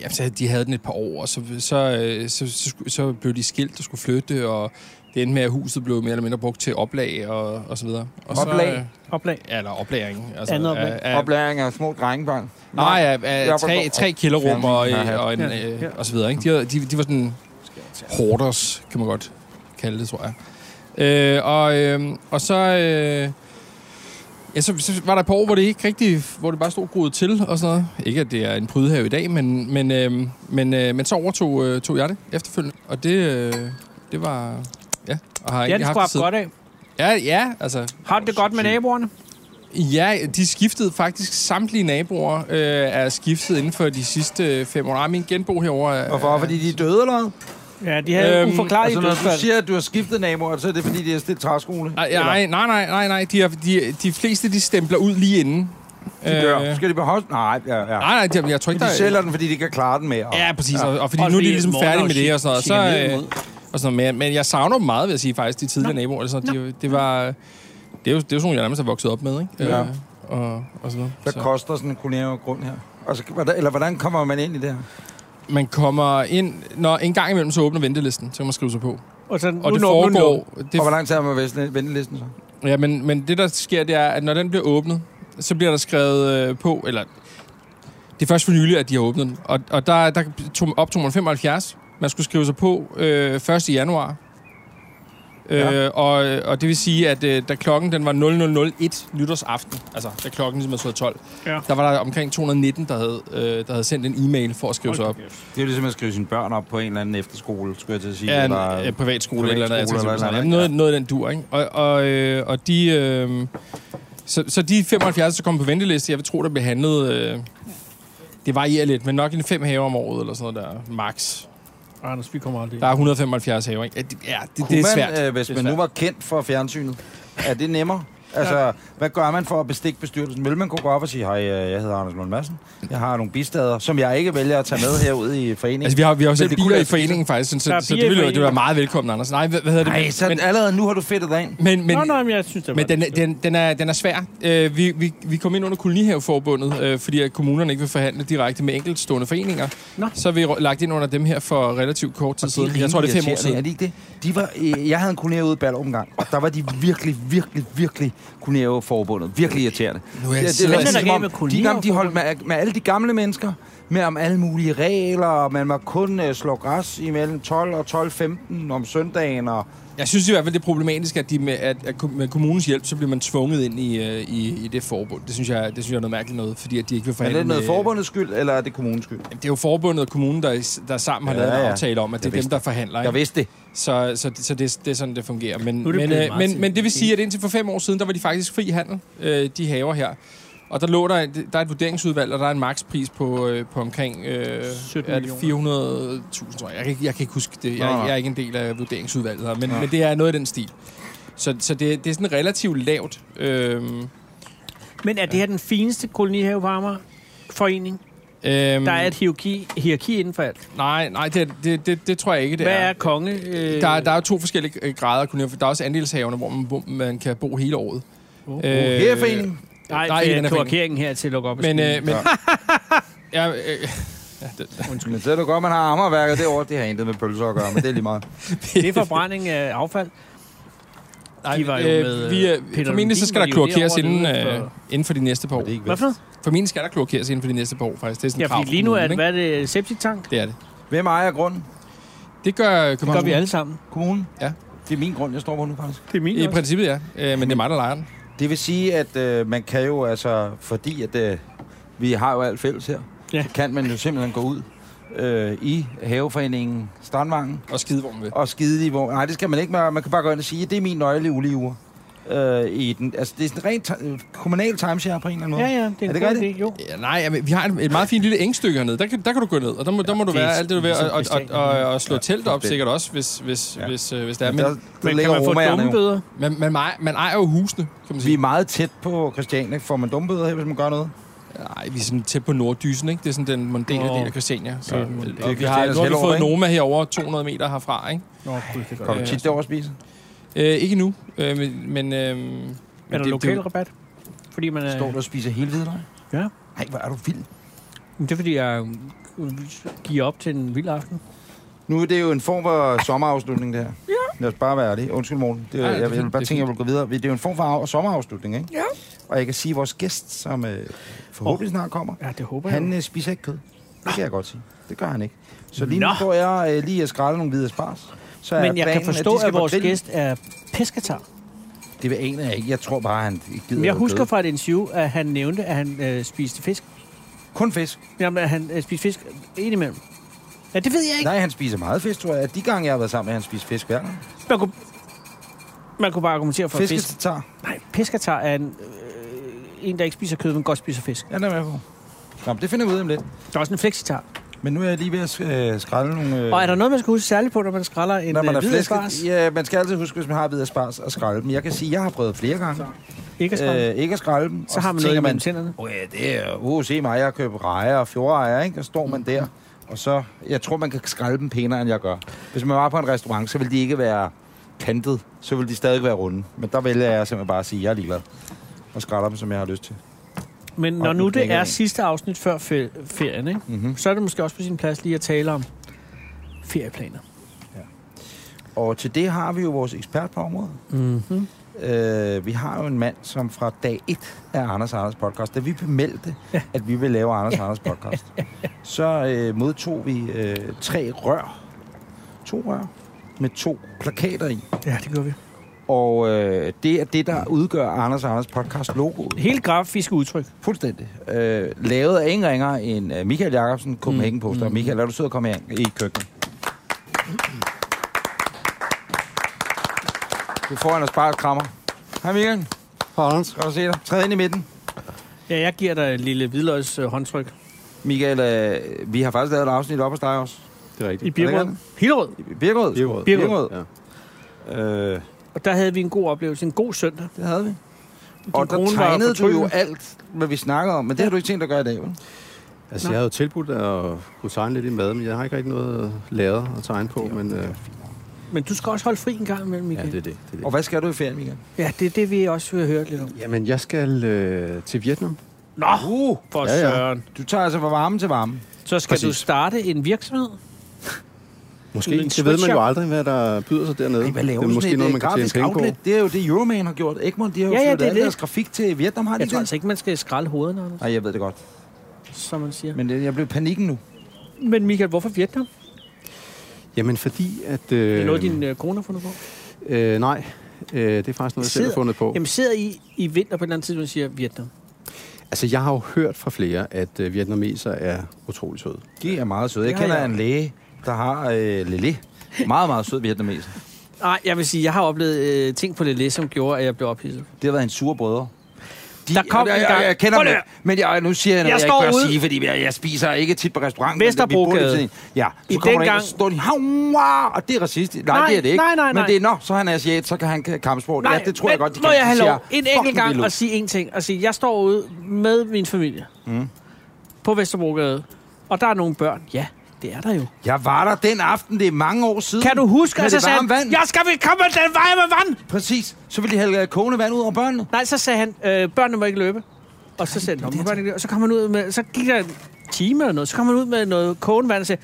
Speaker 5: jamen, så de havde den et par år, og så, så, øh, så, så, sku- så blev de skilt og skulle flytte, og det endte med, at huset blev mere eller mindre brugt til oplag og, og så videre. Og
Speaker 2: Oplag?
Speaker 5: Så, øh,
Speaker 3: Oplag.
Speaker 5: ja, eller oplagring. Altså,
Speaker 3: Andet oplag?
Speaker 5: Af, af,
Speaker 2: Oplæring af små drengebørn.
Speaker 5: nej, af, af,
Speaker 2: Jeg
Speaker 5: tre,
Speaker 2: forstår.
Speaker 5: tre kælderrum og,
Speaker 2: Ja, ja.
Speaker 5: øh, og, en, øh, og så videre. Ikke? De, var- de, de var sådan hoarders, kan man godt kalde det, tror jeg. Øh, og, øh, og så, øh, ja, så, så var der et par år, hvor det ikke rigtig, hvor det bare stod groet til og sådan noget. Ikke, at det er en prydehave i dag, men, men, øh, men, øh, men så overtog øh, tog jeg det efterfølgende. Og det, øh, det var... Ja, og har
Speaker 3: Ja,
Speaker 5: egentlig
Speaker 3: det
Speaker 5: haft
Speaker 3: skulle
Speaker 5: det
Speaker 3: have
Speaker 5: siden.
Speaker 3: godt af.
Speaker 5: Ja, ja, altså,
Speaker 3: Har du det godt med naboerne?
Speaker 5: Ja, de skiftede faktisk samtlige naboer øh, er skiftet inden for de sidste øh, fem år. Nej, min genbo herovre er...
Speaker 2: Hvorfor? Fordi de er døde eller hvad?
Speaker 3: Ja, de havde øhm,
Speaker 5: Øhm,
Speaker 3: uforklarlige
Speaker 2: Altså, når du
Speaker 3: dødsfald.
Speaker 2: siger, at du har skiftet naboer, så er det fordi, det er stillet træskole?
Speaker 5: Ej, nej, nej, nej, nej, nej. De, er, de, de fleste, de stempler ud lige inden.
Speaker 2: De dør.
Speaker 5: Øh,
Speaker 2: Skal de beholde Nej, ja, ja.
Speaker 5: nej, nej, de, jeg tror ikke,
Speaker 2: De
Speaker 5: der...
Speaker 2: sælger den, fordi de ikke kan klare den mere.
Speaker 5: Ja, præcis. Ja. Og, og fordi
Speaker 3: Og
Speaker 5: og nu er de
Speaker 3: fordi
Speaker 5: ligesom
Speaker 3: Morten
Speaker 5: færdige
Speaker 3: er
Speaker 5: med
Speaker 3: jo
Speaker 5: det og sådan noget.
Speaker 3: chikaneret
Speaker 5: Så, øh,
Speaker 3: imod.
Speaker 5: og sådan noget. Men, men jeg savner dem meget, vil jeg sige faktisk, de tidligere
Speaker 3: Nå.
Speaker 5: naboer. Eller sådan. noget. Det, det var... Det er jo, det er jo sådan, nogle, jeg nærmest er vokset op med, ikke?
Speaker 2: Ja.
Speaker 5: Øh, og, og sådan noget.
Speaker 2: Hvad
Speaker 5: Så.
Speaker 2: koster sådan en kolonial grund her? Altså, hvordan, eller hvordan kommer man ind i det her?
Speaker 5: Man kommer ind... Når en gang imellem, så åbner ventelisten, så kan man skrive sig på.
Speaker 3: Og, sådan,
Speaker 5: Og
Speaker 3: nu
Speaker 5: det
Speaker 3: når- nu når-
Speaker 5: foregår...
Speaker 2: Og
Speaker 5: Det
Speaker 2: hvor lang tid har man ved ventelisten så?
Speaker 5: Ja, men, men det, der sker, det er, at når den bliver åbnet, så bliver der skrevet øh, på, eller det er først for nylig, at de har åbnet den. Og, og der, der tog, optog man 75. Man skulle skrive sig på øh, 1. januar.
Speaker 2: Ja.
Speaker 5: Ja. Øh, og, og det vil sige, at øh, da klokken den var 0001 nytårsaften, altså da klokken ligesom havde slået 12,
Speaker 3: Ja.
Speaker 5: der var der omkring 219, der havde, øh, der havde sendt en e-mail for at skrive sig op.
Speaker 2: Det er jo ligesom at skrive sine børn op på en eller anden efterskole, skulle jeg til at sige.
Speaker 5: Ja, en
Speaker 2: eller,
Speaker 5: øh, privatskole eller noget.
Speaker 2: privatskole
Speaker 5: Eller
Speaker 2: eller noget,
Speaker 5: noget, noget, noget, noget af den dur, ikke? Og, og, øh, og de... Øh, så, så de 75, der kom på venteliste, jeg vil tro, der blev handlet... Øh, det varierer lidt, men nok en fem haver om året, eller sådan noget der, max.
Speaker 3: Anders, vi kommer aldrig.
Speaker 5: Der er 175 haver, ikke? Ja, det, ja, det, det
Speaker 2: Kunne
Speaker 5: er svært.
Speaker 2: Man, øh, hvis
Speaker 5: Det er
Speaker 2: man nu
Speaker 5: svært.
Speaker 2: var kendt for fjernsynet, er det nemmere? Altså, hvad gør man for at bestikke bestyrelsen? Vil man kunne gå op og sige, hej, øh, jeg hedder Anders Lund Madsen. Jeg har nogle bistader, som jeg ikke vælger at tage med herude i foreningen.
Speaker 5: Altså, vi har, vi har jo
Speaker 2: Men
Speaker 5: selv
Speaker 2: det kunne
Speaker 5: bier i
Speaker 2: lade sig-
Speaker 5: foreningen, faktisk, sådan,
Speaker 3: Der er
Speaker 5: så, så
Speaker 3: bier i
Speaker 5: det ville jo det ville være
Speaker 3: foreningen.
Speaker 5: meget velkommen, Anders. Nej, hvad, hvad hedder det?
Speaker 2: Nej, så
Speaker 5: men,
Speaker 2: allerede nu har du fedtet dig ind.
Speaker 5: men, men,
Speaker 3: Nå, nej, men jeg synes, det var
Speaker 5: Men den, er- den, den, er, den er svær. Øh, vi, vi, vi kom ind under kolonihaveforbundet, øh, fordi at kommunerne ikke vil forhandle direkte med enkeltstående foreninger.
Speaker 3: Nå.
Speaker 5: Så er vi rå- lagt ind under dem her for relativt kort tid
Speaker 2: Og de
Speaker 5: siden. Jeg tror, det er fem år
Speaker 2: irriterende, Er
Speaker 5: siden.
Speaker 2: det ikke det? De var, øh, jeg havde en kollega ude i Ballerup en gang, og der var de virkelig, virkelig, virkelig kolonierforbundet. Virkelig irriterende.
Speaker 5: Nu er jeg
Speaker 2: det,
Speaker 5: selv- Hvad er der
Speaker 2: ligesom
Speaker 3: galt
Speaker 2: om,
Speaker 3: med
Speaker 2: de, gang, de holdt
Speaker 3: kolonierforbundet?
Speaker 2: med, med alle de gamle mennesker, med om alle mulige regler, og man må kun øh, slå græs imellem 12 og 12.15 om søndagen, og
Speaker 5: Jeg synes i hvert fald, det er problematisk, at, de med, at, at kom- med kommunens hjælp, så bliver man tvunget ind i, øh, i, i det forbund. Det synes, jeg, det synes jeg er noget mærkeligt noget, fordi at de ikke vil
Speaker 6: Men er
Speaker 5: forhandle
Speaker 6: det noget
Speaker 5: med-
Speaker 6: forbundets skyld, eller er det kommunens skyld?
Speaker 5: Det er jo forbundet og kommunen, der, der sammen har
Speaker 6: Ja,
Speaker 5: ja, lavet en
Speaker 6: ja.
Speaker 5: aftale om, at det
Speaker 6: Jeg
Speaker 5: er dem, der forhandler.
Speaker 2: Jeg
Speaker 5: Ikke?
Speaker 2: vidste det.
Speaker 5: Så, så, så det, det er sådan, det fungerer. Men,
Speaker 3: Nu er det
Speaker 5: men,
Speaker 3: blevet
Speaker 5: øh,
Speaker 3: meget til-
Speaker 5: men, men det vil sige, at indtil for fem år siden, der var de faktisk fri handel, øh, de haver her. Og der lå der, der er et vurderingsudvalg, og der er en makspris på, øh, på omkring øh,
Speaker 3: 17
Speaker 5: er det
Speaker 3: millioner.
Speaker 5: 400.000, tror jeg. Jeg kan, ikke- jeg kan ikke huske det. Jeg,
Speaker 2: Nå, nej.
Speaker 5: jeg er ikke en del af vurderingsudvalget her, men, men det er noget af den stil. Så, så det, det er sådan relativt lavt. Øhm,
Speaker 3: Men er det her den fineste kolonihave på Amager? Forening.
Speaker 5: øhm,
Speaker 3: Der er et hierarki, hierarki inden for alt.
Speaker 5: Nej, nej det, det, det, det tror jeg ikke, det
Speaker 3: Hvad
Speaker 5: er.
Speaker 3: er konge? Øh,
Speaker 5: Der, er- der er jo to forskellige øh, grader. af kolonier, for Der er også andelshaverne, hvor man, bo- man kan bo hele året.
Speaker 3: Oh.
Speaker 5: Øh,
Speaker 6: Herreforeningen?
Speaker 3: Nej,
Speaker 5: der er
Speaker 3: det
Speaker 5: ikke
Speaker 3: er
Speaker 5: en af
Speaker 3: kloakeringen her til at lukke op. i
Speaker 5: Men,
Speaker 3: skiden.
Speaker 5: øh, men, ja, øh,
Speaker 2: Undskyld. Men så er det godt, man har ammerværket derovre. Det har intet med pølser at gøre, men det er lige meget.
Speaker 3: Det er forbrænding af affald.
Speaker 5: nej,
Speaker 3: De var jo med,
Speaker 5: vi,
Speaker 3: øh,
Speaker 5: øh,
Speaker 3: Peter
Speaker 5: formentlig så
Speaker 3: Lundin,
Speaker 5: skal
Speaker 3: var
Speaker 5: der
Speaker 3: de jo
Speaker 5: kloakeres
Speaker 3: derovre
Speaker 5: inden,
Speaker 3: nede
Speaker 5: øh, inden for de næste par år.
Speaker 3: Hvad for noget?
Speaker 5: Formentlig skal der kloakeres inden for de næste par år, faktisk. Det er sådan
Speaker 3: Ja,
Speaker 5: et krav
Speaker 3: fordi
Speaker 5: fra
Speaker 3: lige nu er det,
Speaker 5: kommunen,
Speaker 3: hvad er det, septiktank?
Speaker 5: ikke? Det er det.
Speaker 2: Hvem ejer grunden?
Speaker 5: Det gør øh,
Speaker 3: Det gør
Speaker 5: København.
Speaker 3: vi alle sammen.
Speaker 2: Kommunen?
Speaker 5: Ja.
Speaker 2: Det er min grund, jeg står på nu, faktisk.
Speaker 3: Det er min
Speaker 5: I princippet, ja. Øh, men det er mig, der leger den.
Speaker 2: Det vil sige, at øh, man kan jo altså, fordi at øh, vi har jo alt fælles her,
Speaker 3: Ja.
Speaker 2: ja. så kan man jo simpelthen gå ud øh, i haveforeningen Strandvangen
Speaker 5: Og skide, hvor man vil.
Speaker 2: og skide i hvor... Nej, det skal man ikke, man man kan bare gå ind og sige, at det er min nøgle i ulige uger. Øh, i den, altså, det er sådan rent ti- øh, kommunal timeshare på en eller anden måde.
Speaker 3: Ja, ja, det er
Speaker 2: Er
Speaker 3: en
Speaker 2: det
Speaker 3: god
Speaker 2: rigtigt?
Speaker 3: idé, jo.
Speaker 5: Ja, nej, men vi har et, et meget fint lille engstykke hernede. Der kan, der kan du gå ned, og der må, der må du
Speaker 3: det er
Speaker 5: være alt det, du vil. Og, og,
Speaker 3: ligesom
Speaker 5: og, og, og slå
Speaker 2: Ja,
Speaker 5: telt op
Speaker 2: det-
Speaker 5: sikkert også, hvis, hvis,
Speaker 2: Ja.
Speaker 5: hvis, øh, hvis det er.
Speaker 2: Men
Speaker 5: Men
Speaker 2: der, der
Speaker 3: Men kan
Speaker 2: ligger
Speaker 3: man få
Speaker 2: romaerne jo.
Speaker 3: dummebøder?
Speaker 5: man, man, ejer, man ejer jo husene, kan man sige.
Speaker 2: Vi er meget tæt på Christiania. Får man dummebøder her, hvis man gør noget?
Speaker 5: Nej, vi er sådan tæt på Norddysen, ikke? Det er sådan den mondæne
Speaker 3: Nå.
Speaker 5: del af Christiania. Så,
Speaker 3: Ja,
Speaker 5: ja,
Speaker 3: det er
Speaker 5: og vi
Speaker 2: Christianias
Speaker 5: har, nu har vi
Speaker 2: Hellerup,
Speaker 5: fået
Speaker 2: ikke?
Speaker 5: Noma herover 200 meter herfra, ikke?
Speaker 3: Nå, gud, det gør
Speaker 2: Kommer
Speaker 5: Ja.
Speaker 2: du tit derover at spise?
Speaker 5: Øh, ikke nu, øh, men... men øh, men
Speaker 3: Er der
Speaker 5: det-
Speaker 3: lokal
Speaker 5: det-
Speaker 3: rabat? Fordi man øh, er...
Speaker 2: Står du og spiser hele hvidløg?
Speaker 3: Ja.
Speaker 2: Nej, hvor er du vild.
Speaker 3: Men Det er fordi, jeg øh, giver op til en vild aften.
Speaker 2: Nu er det jo en form for sommerafslutning, det her. Ja. Lad os bare være ærlige. Undskyld, Morten. Det,
Speaker 5: Ja,
Speaker 2: ja,
Speaker 5: ja,
Speaker 2: jeg,
Speaker 5: det er
Speaker 2: jeg, vil
Speaker 5: fint,
Speaker 2: bare
Speaker 5: det er
Speaker 2: tænke, jeg vil gå videre. Det er jo en form for af- sommerafslutning, ikke? Ja. Og jeg kan sige, at vores gæst, som øh, forhåbentlig snart kommer,
Speaker 3: Ja, det håber jeg.
Speaker 2: han øh, spiser ikke kød. Det kan jeg godt sige. Det gør han ikke. Så lige nu
Speaker 3: Nå.
Speaker 2: står jeg øh, lige og skræller nogle hvide spars. Så er
Speaker 3: Men jeg
Speaker 2: planen,
Speaker 3: kan
Speaker 2: at
Speaker 3: forstå,
Speaker 2: de skal
Speaker 3: at
Speaker 2: på
Speaker 3: vores
Speaker 2: grillen.
Speaker 3: gæst er pesketar.
Speaker 2: Det ved aner jeg ikke. Jeg tror bare, han ikke gider
Speaker 3: Men jeg
Speaker 2: noget
Speaker 3: husker
Speaker 2: kød.
Speaker 3: fra et interview, at han nævnte, at han øh, spiste fisk.
Speaker 2: Kun fisk.
Speaker 3: Jamen, at han øh, spiste fisk indimellem. Ja, det ved jeg ikke.
Speaker 2: Nej, han spiser meget fisk, tror jeg. De gange, jeg har været sammen med, han spiser fisk hver gang.
Speaker 3: Man kunne, man kunne bare argumentere for, at fisk...
Speaker 2: Fisketatar.
Speaker 3: Nej, pesketar er en, øh, en, der ikke spiser kød, men godt spiser fisk.
Speaker 2: Ja, den er jeg med på. Nå, men det finder vi ud af om lidt.
Speaker 3: Der er også en flexitar.
Speaker 2: Men nu er jeg lige ved at øh, skrælle nogle... Øh,
Speaker 3: Og er der noget, man skal huske særligt på, når man skræller en
Speaker 2: Når man er
Speaker 3: øh, hvid
Speaker 2: flæsket,
Speaker 3: spars?
Speaker 2: ja, man skal altid huske, hvis man har hvide spars og skralde dem. Jeg kan sige, at jeg har prøvet flere gange
Speaker 3: Ikke at skrælle.
Speaker 2: øh, ikke at skralde dem.
Speaker 3: så har man noget
Speaker 2: tænker
Speaker 3: imellem tænderne.
Speaker 2: "Åh ja, det er, uh, se mig, jeg har købt rejer og fjordejer, ikke? Og står man der, og så, jeg tror, man kan skralde dem pænere, end jeg gør. Hvis man var på en restaurant, så ville de ikke være kantet, så ville de stadig være runde. Men der vælger jeg simpelthen bare at sige, at jeg er ligeglad og skralder dem, som jeg har lyst til.
Speaker 3: Men når
Speaker 2: Og
Speaker 3: nu
Speaker 2: den
Speaker 3: det
Speaker 2: knækker
Speaker 3: er
Speaker 2: en.
Speaker 3: sidste afsnit før fe- ferien, ikke? Mm-hmm. så er det måske også på sin plads lige at tale om ferieplaner.
Speaker 2: Og til det har vi jo vores ekspert på området. Mm-hmm. Øh, vi har jo en mand, som fra dag 1 af Anders Anders podcast, da vi bemeldte, ja. at vi ville lave Anders Anders podcast, så øh, modtog vi øh, tre rør. To rør med to plakater i.
Speaker 3: Ja, det gør vi.
Speaker 2: Og øh, det er det, der udgør Anders Anders podcast logoet.
Speaker 3: Helt grafiske udtryk.
Speaker 2: Fuldstændig. Øh, lavet af ingen ringer end øh, Michael Jacobsen, Copenhagen Poster. Mm. Michael, er du sød at komme her i køkkenet? Du får en spart krammer. Hej Michael,
Speaker 7: Hans.
Speaker 2: godt at se dig. Træd ind i midten.
Speaker 3: Ja, jeg giver dig et lille hvidløgs øh, håndtryk
Speaker 2: Michael, øh, vi har faktisk lavet et afsnit op hos dig også.
Speaker 7: Det er
Speaker 3: i
Speaker 7: rigtigt.
Speaker 3: Birkerød.
Speaker 2: Hvordan
Speaker 3: Hillerød.
Speaker 2: Birkerød.
Speaker 7: Birkerød.
Speaker 3: Birkerød.
Speaker 7: Ja.
Speaker 2: Øh,
Speaker 3: Og der havde vi en god oplevelse, en god søndag.
Speaker 2: det havde vi. Og der
Speaker 3: kone var
Speaker 2: tegnede du jo
Speaker 3: fortryllende.
Speaker 2: alt, hvad vi snakker om, men det har du ikke tænkt at gøre i dag, vel?
Speaker 7: Altså, jeg havde jo tilbudt at kunne tegne lidt i mad, men jeg har ikke rigtig noget lavet at tegne på, men øh, ja,
Speaker 3: Men du skal også holde fri en gang imellem,
Speaker 7: det er
Speaker 3: Michael.
Speaker 7: det. det, er
Speaker 2: Og
Speaker 7: det.
Speaker 2: hvad skal du i ferien, Michael?
Speaker 3: Ja, det er det, vi også vil høre lidt om.
Speaker 7: Jamen, jeg skal øh, til Vietnam.
Speaker 3: Nå,
Speaker 2: Uh,
Speaker 3: for
Speaker 7: ja, ja.
Speaker 3: søren.
Speaker 2: du tager altså fra varme til varme.
Speaker 3: Så skal Præcis.
Speaker 7: Præcis.
Speaker 3: du starte en virksomhed.
Speaker 7: Måske.
Speaker 3: Sådan en
Speaker 7: Det ved man
Speaker 3: sweatshop.
Speaker 7: jo aldrig, hvad der byder sig dernede.
Speaker 2: Ej, hvad laver
Speaker 7: det er
Speaker 2: sådan
Speaker 7: måske
Speaker 2: et,
Speaker 7: noget,
Speaker 2: øh,
Speaker 7: man kan tjene
Speaker 2: grafisk
Speaker 7: penge på.
Speaker 2: outlet? Det er jo det, Euroman har gjort. Egmont, de har jo
Speaker 3: Ja, ja,
Speaker 2: flyttet
Speaker 3: det er
Speaker 2: al
Speaker 3: det.
Speaker 2: deres grafik til Vietnam, har de
Speaker 3: Jeg tror
Speaker 2: det?
Speaker 3: altså ikke, man skal skralde hovederne, Anders,
Speaker 2: Nej, jeg ved det godt.
Speaker 3: som man siger.
Speaker 2: Men det- jeg blev i panikken nu.
Speaker 3: Men Michael, hvorfor Vietnam?
Speaker 7: Jamen, fordi at...
Speaker 3: Det er
Speaker 7: Øh,
Speaker 2: Øhm,
Speaker 3: noget, din øh, kone har fundet på.
Speaker 7: Øh, nej, øh, det er faktisk noget, jeg selv har
Speaker 3: Sidder-
Speaker 7: fundet på.
Speaker 3: Jamen sidder I i vinter på et eller andet tidspunkt og siger Vietnam?
Speaker 7: Altså, jeg har jo hørt fra flere, at øh, vietnameser er utrolig søde.
Speaker 2: De er meget søde. Jeg
Speaker 3: Det har
Speaker 2: kender
Speaker 3: jeg.
Speaker 2: en læge, der har øh, Lille. Meget, meget sød vietnameser.
Speaker 3: Nej, jeg vil sige, jeg har oplevet øh, ting på Lille, som gjorde, at jeg blev ophidset.
Speaker 2: Det har været en sure brødre. De,
Speaker 3: Der kom
Speaker 2: jeg,
Speaker 3: en
Speaker 2: jeg,
Speaker 3: gang-
Speaker 2: jeg, jeg kender
Speaker 3: Prøv
Speaker 2: dem,
Speaker 3: lige
Speaker 2: ikke. men jeg, nu siger jeg noget,
Speaker 3: Jeg
Speaker 2: jeg,
Speaker 3: står
Speaker 2: jeg ikke bør
Speaker 3: ude-
Speaker 2: sige, fordi jeg, jeg spiser ikke tit på restaurant. men
Speaker 3: Vesterbrogade.
Speaker 2: vi bor lidt siden. Ja,
Speaker 3: I
Speaker 2: så kommer der en,
Speaker 3: dengang-
Speaker 2: og så står de, "Haua!" og det er racistisk. Nej,
Speaker 3: Nej,
Speaker 2: det er det ikke.
Speaker 3: nej, nej, nej.
Speaker 2: Men det er, nå, så er han asiat, så kan han k- kampsport. ja, det tror
Speaker 3: men
Speaker 2: jeg godt, de
Speaker 3: må
Speaker 2: kan.
Speaker 3: jeg have
Speaker 2: De
Speaker 3: lov
Speaker 2: siger,
Speaker 3: en enkelt
Speaker 2: "Fuck, vi
Speaker 3: gang
Speaker 2: vil ud."
Speaker 3: at sige en ting. Og sige, jeg står ude med min familie mm. på Vesterbrogade, og der er nogle børn. Ja, det er der jo.
Speaker 2: Jeg var der den aften, det er mange år siden.
Speaker 3: Kan du huske,
Speaker 2: Med
Speaker 3: at så
Speaker 2: det
Speaker 3: sagde
Speaker 2: varme
Speaker 3: han,
Speaker 2: vand?
Speaker 3: jeg skal vel komme den vej med vand?
Speaker 2: Præcis. Så ville de have øh, kogende vand ud over børnene.
Speaker 3: Nej, så sagde han, øh, børnene må ikke løbe. Og så sagde han, "Nå, må børnene ikke løbe." og så kom han ud med, så gik der en time eller noget, så kom han ud med noget kogende vand og sagde,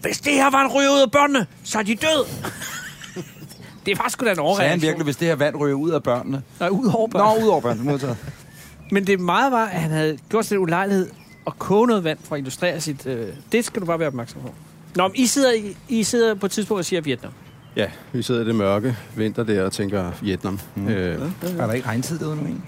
Speaker 3: hvis det her var en ryger ud af børnene, så er de døde. det var sgu da en
Speaker 2: Sagde han
Speaker 3: overreaktion.
Speaker 2: virkelig, hvis det her vand ryger ud af børnene?
Speaker 3: Nej, ud over børnene.
Speaker 2: Nå, ud over børnene, modtaget.
Speaker 3: Men det meget var, at han havde gjort sig den ulejlighed at koge noget vand for at illustrere sit... Øh, det skal du bare være opmærksom på. Nå, men I sidder, I, I sidder på et tidspunkt og siger Vietnam.
Speaker 7: Ja, vi sidder i det mørke vinter der og tænker Vietnam. Mm. Øh,
Speaker 2: Er der ikke regntid derude nu egentlig?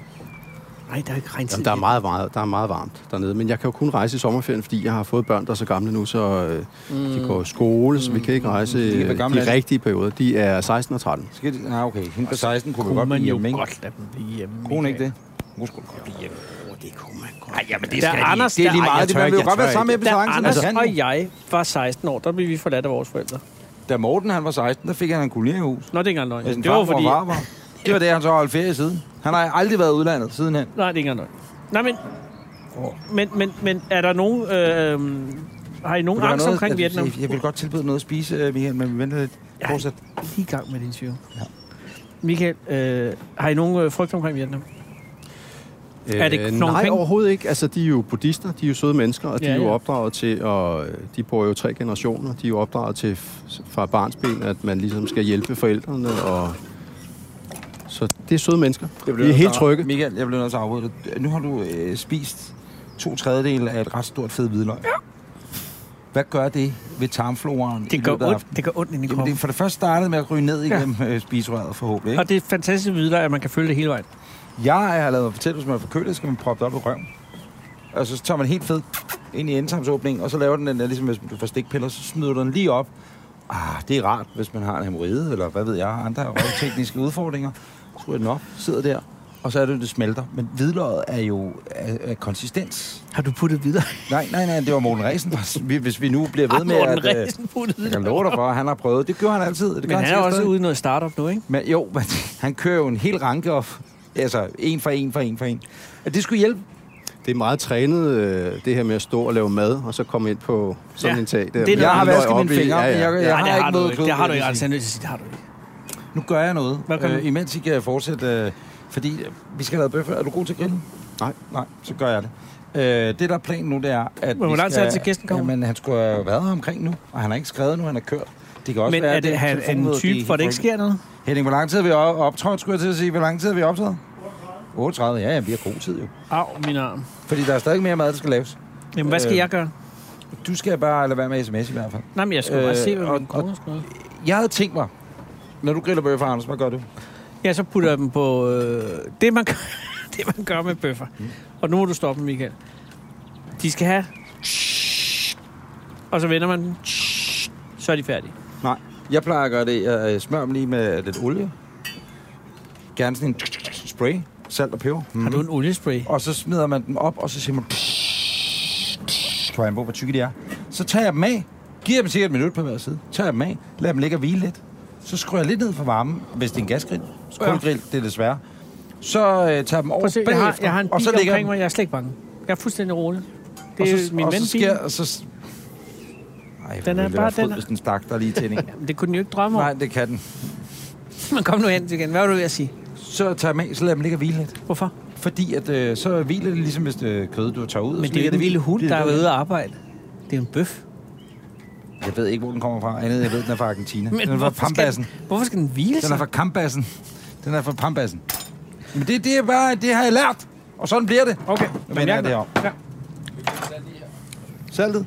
Speaker 3: Nej, der er ikke regntid.
Speaker 7: Jamen, der, er meget, meget, der er meget varmt dernede, men jeg kan jo kun rejse i sommerferien, fordi jeg har fået børn, der er så gamle nu, så øh, mm. de går i skole, så vi kan ikke rejse
Speaker 2: er
Speaker 7: øh,
Speaker 2: hvor gamle er
Speaker 7: de
Speaker 2: de?
Speaker 7: rigtige perioder. De er 16 og 13.
Speaker 2: Skal de? Nej, okay. Hende på 16 Altså, kunne vi godt blive hjemme, ikke?
Speaker 8: godt lade dem blive hjemme.
Speaker 2: Kunne hun ikke det? Hun skulle godt blive hjemme. Det kunne man godt. Nej, men det skal de
Speaker 3: Anders,
Speaker 2: ikke. Det er lige
Speaker 3: der- Ej, jeg
Speaker 2: meget. Det
Speaker 7: tør
Speaker 2: man vil
Speaker 7: ikke,
Speaker 2: jo godt
Speaker 7: Altså, jeg tør
Speaker 2: være sammen med
Speaker 3: Da
Speaker 2: Altså,
Speaker 3: Anders
Speaker 2: Peter Hansen.
Speaker 3: og jeg var 16 år, der blev vi forladt af vores forældre.
Speaker 2: Da Morten han var 16, der fik han en kolonierhus.
Speaker 3: Nå, det er ikke engang løgn.
Speaker 2: Med sin
Speaker 3: Det var
Speaker 2: farmor og
Speaker 3: fordi...
Speaker 2: farfar. Det var det, han så holdt ferie siden. Han har aldrig været i udlandet sidenhen.
Speaker 3: Nej, det er ikke engang løgn. Nej, men... Men, men, men er der nogen... Øh, har I nogen
Speaker 2: Vil der
Speaker 3: angst
Speaker 2: være noget-
Speaker 3: omkring
Speaker 2: at-
Speaker 3: Vietnam?
Speaker 2: Jeg, jeg vil godt tilbyde noget at spise, øh, Michael, men vi venter lidt. Fortsæt.
Speaker 3: lige i gang med din tvivl. Ja. Michael, øh, har I nogen øh, frygt omkring Vietnam? Er det
Speaker 7: Øh,
Speaker 3: nogle
Speaker 7: Nej,
Speaker 3: penge?
Speaker 7: overhovedet ikke. Altså, de er jo buddhister, de er jo søde mennesker, og de
Speaker 3: Ja,
Speaker 7: er jo
Speaker 3: ja.
Speaker 7: opdraget til, og de bor jo tre generationer, de er jo opdraget til f- fra barnsben, at man ligesom skal hjælpe forældrene, og så det er søde mennesker. De er helt trygge.
Speaker 2: Michael, jeg bliver nødt til at afbryde dig. Nu har du øh, spist to tredjedele af et ret stort fedt hvidløg. Ja. Hvad gør det ved tarmfloraen i
Speaker 3: Det gør
Speaker 2: løbet af
Speaker 3: ondt,
Speaker 2: aftenen?
Speaker 3: det gør ondt ind i
Speaker 2: Jamen,
Speaker 3: kroppen.
Speaker 2: det, for det første startede med at ryge ned igennem ja. spiserøret forhåbentlig. Ikke?
Speaker 3: Og det er fantastisk videre, at man kan følge det hele vejen.
Speaker 2: Jeg har lavet mig fortælle, hvis man er forkølet, skal man proppe det op i røven. Og så tager man helt fed ind i endtarmsåbningen, og så laver den den der, ligesom hvis du får stikpiller, så smider du den lige op. Ah, det er rart, hvis man har en hemorrhide, eller hvad ved jeg, andre tekniske udfordringer. Så ryger den op, sidder der, og så er det, det smelter. Men hvidløget er jo af, af konsistens.
Speaker 3: Har du puttet videre?
Speaker 2: Nej, nej, nej, det var Morten Resen. der- vi- Hvis vi nu bliver ved med,
Speaker 3: Morten
Speaker 2: at... øh,
Speaker 3: Ræsen puttet
Speaker 2: Jeg kan
Speaker 3: videre.
Speaker 2: love dig for, at han har prøvet. Det gør han altid. Det gør
Speaker 3: Men han er
Speaker 2: sikkert
Speaker 3: også
Speaker 2: stadig.
Speaker 3: ude i noget startup nu, ikke?
Speaker 2: Men jo, men han kører jo en hel ranke op. Altså, en for en for en for en. Og det skulle hjælpe.
Speaker 7: Det er meget trænet, øh, det her med at stå og lave mad, og så komme ind på sådan
Speaker 3: Ja,
Speaker 7: ja, en tag. Der.
Speaker 3: det er
Speaker 2: Jeg
Speaker 3: noget,
Speaker 2: har
Speaker 7: Løg
Speaker 2: vasket
Speaker 7: op
Speaker 2: mine
Speaker 7: i-
Speaker 2: fingre.
Speaker 7: Ja, ja.
Speaker 2: Jeg, jeg
Speaker 3: Nej, det
Speaker 2: har
Speaker 3: har
Speaker 2: ikke
Speaker 3: du
Speaker 2: noget
Speaker 3: ikke.
Speaker 2: klogt.
Speaker 3: Det har du
Speaker 2: vil
Speaker 3: ikke,
Speaker 2: jeg
Speaker 3: altså.
Speaker 2: sige.
Speaker 3: Jeg er nødt til at sige, det har du ikke.
Speaker 2: Nu gør jeg noget.
Speaker 3: Hvad gør du?
Speaker 2: øh, imens I kan fortsætte. Øh, fordi øh, vi skal have lavet bøffer. Er du god til at grille?
Speaker 7: Nej.
Speaker 2: Nej, så gør jeg det. Øh, det, der er planen nu, det er, at
Speaker 3: hvor
Speaker 2: vi
Speaker 3: lang tid
Speaker 2: skal-
Speaker 3: er det til gæsten kommer?
Speaker 2: Jamen, han skulle have været her omkring nu, og han har ikke skrevet nu, han har kørt. Det kan også
Speaker 3: Men
Speaker 2: være,
Speaker 3: er
Speaker 2: at
Speaker 3: det han er
Speaker 2: telefonmøde,
Speaker 3: en type,
Speaker 2: er
Speaker 3: for at det ikke
Speaker 2: helt
Speaker 3: sker noget?
Speaker 2: Henning, hvor lang tid har vi op- optrådt, skulle jeg til at sige? Hvor lang tid har vi optaget? 38. Ja, ja, vi har god tid jo.
Speaker 3: Au, min arm.
Speaker 2: Fordi der er stadig mere mad, der skal laves.
Speaker 3: Jamen, hvad skal
Speaker 2: Øh,
Speaker 3: jeg gøre?
Speaker 2: Du skal bare lade være med sms i hvert fald.
Speaker 3: Nej, men jeg skal øh, bare
Speaker 2: øh,
Speaker 3: se, hvad
Speaker 2: og-
Speaker 3: min kone skal gøre.
Speaker 2: Jeg havde tænkt mig, når du griller bøffer, Anders, hvad gør du?
Speaker 3: Ja, så putter jeg dem på øh, det, man gør, det, man gør med bøffer.
Speaker 2: Mm.
Speaker 3: Og nu må du stoppe, Michael. De skal have... Og så vender man den. Så er de færdige.
Speaker 2: Nej. Jeg plejer at gøre det. Jeg øh, smører dem lige med lidt olie. Gerne sådan en spray. Salt og peber. Mm.
Speaker 3: Har du en oliespray?
Speaker 2: Og så smider man dem op, og så siger man... Tror jeg, hvor tykke de er. Så tager jeg dem af. Giver dem sikkert et minut på hver side. Tager jeg dem af. Lader dem ligge og hvile lidt. Så skruer jeg lidt ned for varmen, hvis det er en gasgrill. Skrulgrill, det er desværre. Så øh, tager jeg dem over
Speaker 3: Prøv at se, jeg har,
Speaker 2: bagefter,
Speaker 3: jeg har en
Speaker 2: og
Speaker 3: bil
Speaker 2: så lægger jeg
Speaker 3: omkring
Speaker 2: dem
Speaker 3: mig. Jeg er slet ikke bange. Jeg er fuldstændig rolig. Det er
Speaker 2: og
Speaker 3: jo
Speaker 2: så,
Speaker 3: Øh, min
Speaker 2: og
Speaker 3: ven
Speaker 2: så
Speaker 3: sker...
Speaker 2: sker, og så... Ej,
Speaker 3: Den er bare- den er-
Speaker 2: den. Hvis den stak der lige til en.
Speaker 3: Det kunne den jo ikke drømme om.
Speaker 2: Nej, det kan den.
Speaker 3: Men kom nu hen igen. Hvad var du ved at sige?
Speaker 2: Så tager jeg med, så lader jeg dem ligge og hvile lidt.
Speaker 3: Hvorfor?
Speaker 2: Fordi at, øh, så hviler det ligesom, hvis det er kød, du tager ud. og
Speaker 3: Men
Speaker 2: så
Speaker 3: det er
Speaker 2: ligger
Speaker 3: jo en
Speaker 2: hvilet.
Speaker 3: lille hund,
Speaker 2: Det
Speaker 3: der
Speaker 2: er
Speaker 3: er
Speaker 2: det.
Speaker 3: ude at arbejde. Det er jo en bøf.
Speaker 2: Jeg ved ikke, hvor den kommer fra. Andet, end jeg ved, den er fra Argentina. den er fra
Speaker 3: hvorfor skal,
Speaker 2: Pambassen.
Speaker 3: den, hvorfor skal den hvile
Speaker 2: Den er
Speaker 3: sig?
Speaker 2: fra Kampassen. Den er fra Pampassen. Men det, det er bare, det har jeg lært. Og sådan bliver det.
Speaker 3: Okay,
Speaker 2: Nu vender jeg det om.
Speaker 3: Ja.
Speaker 2: Saltet.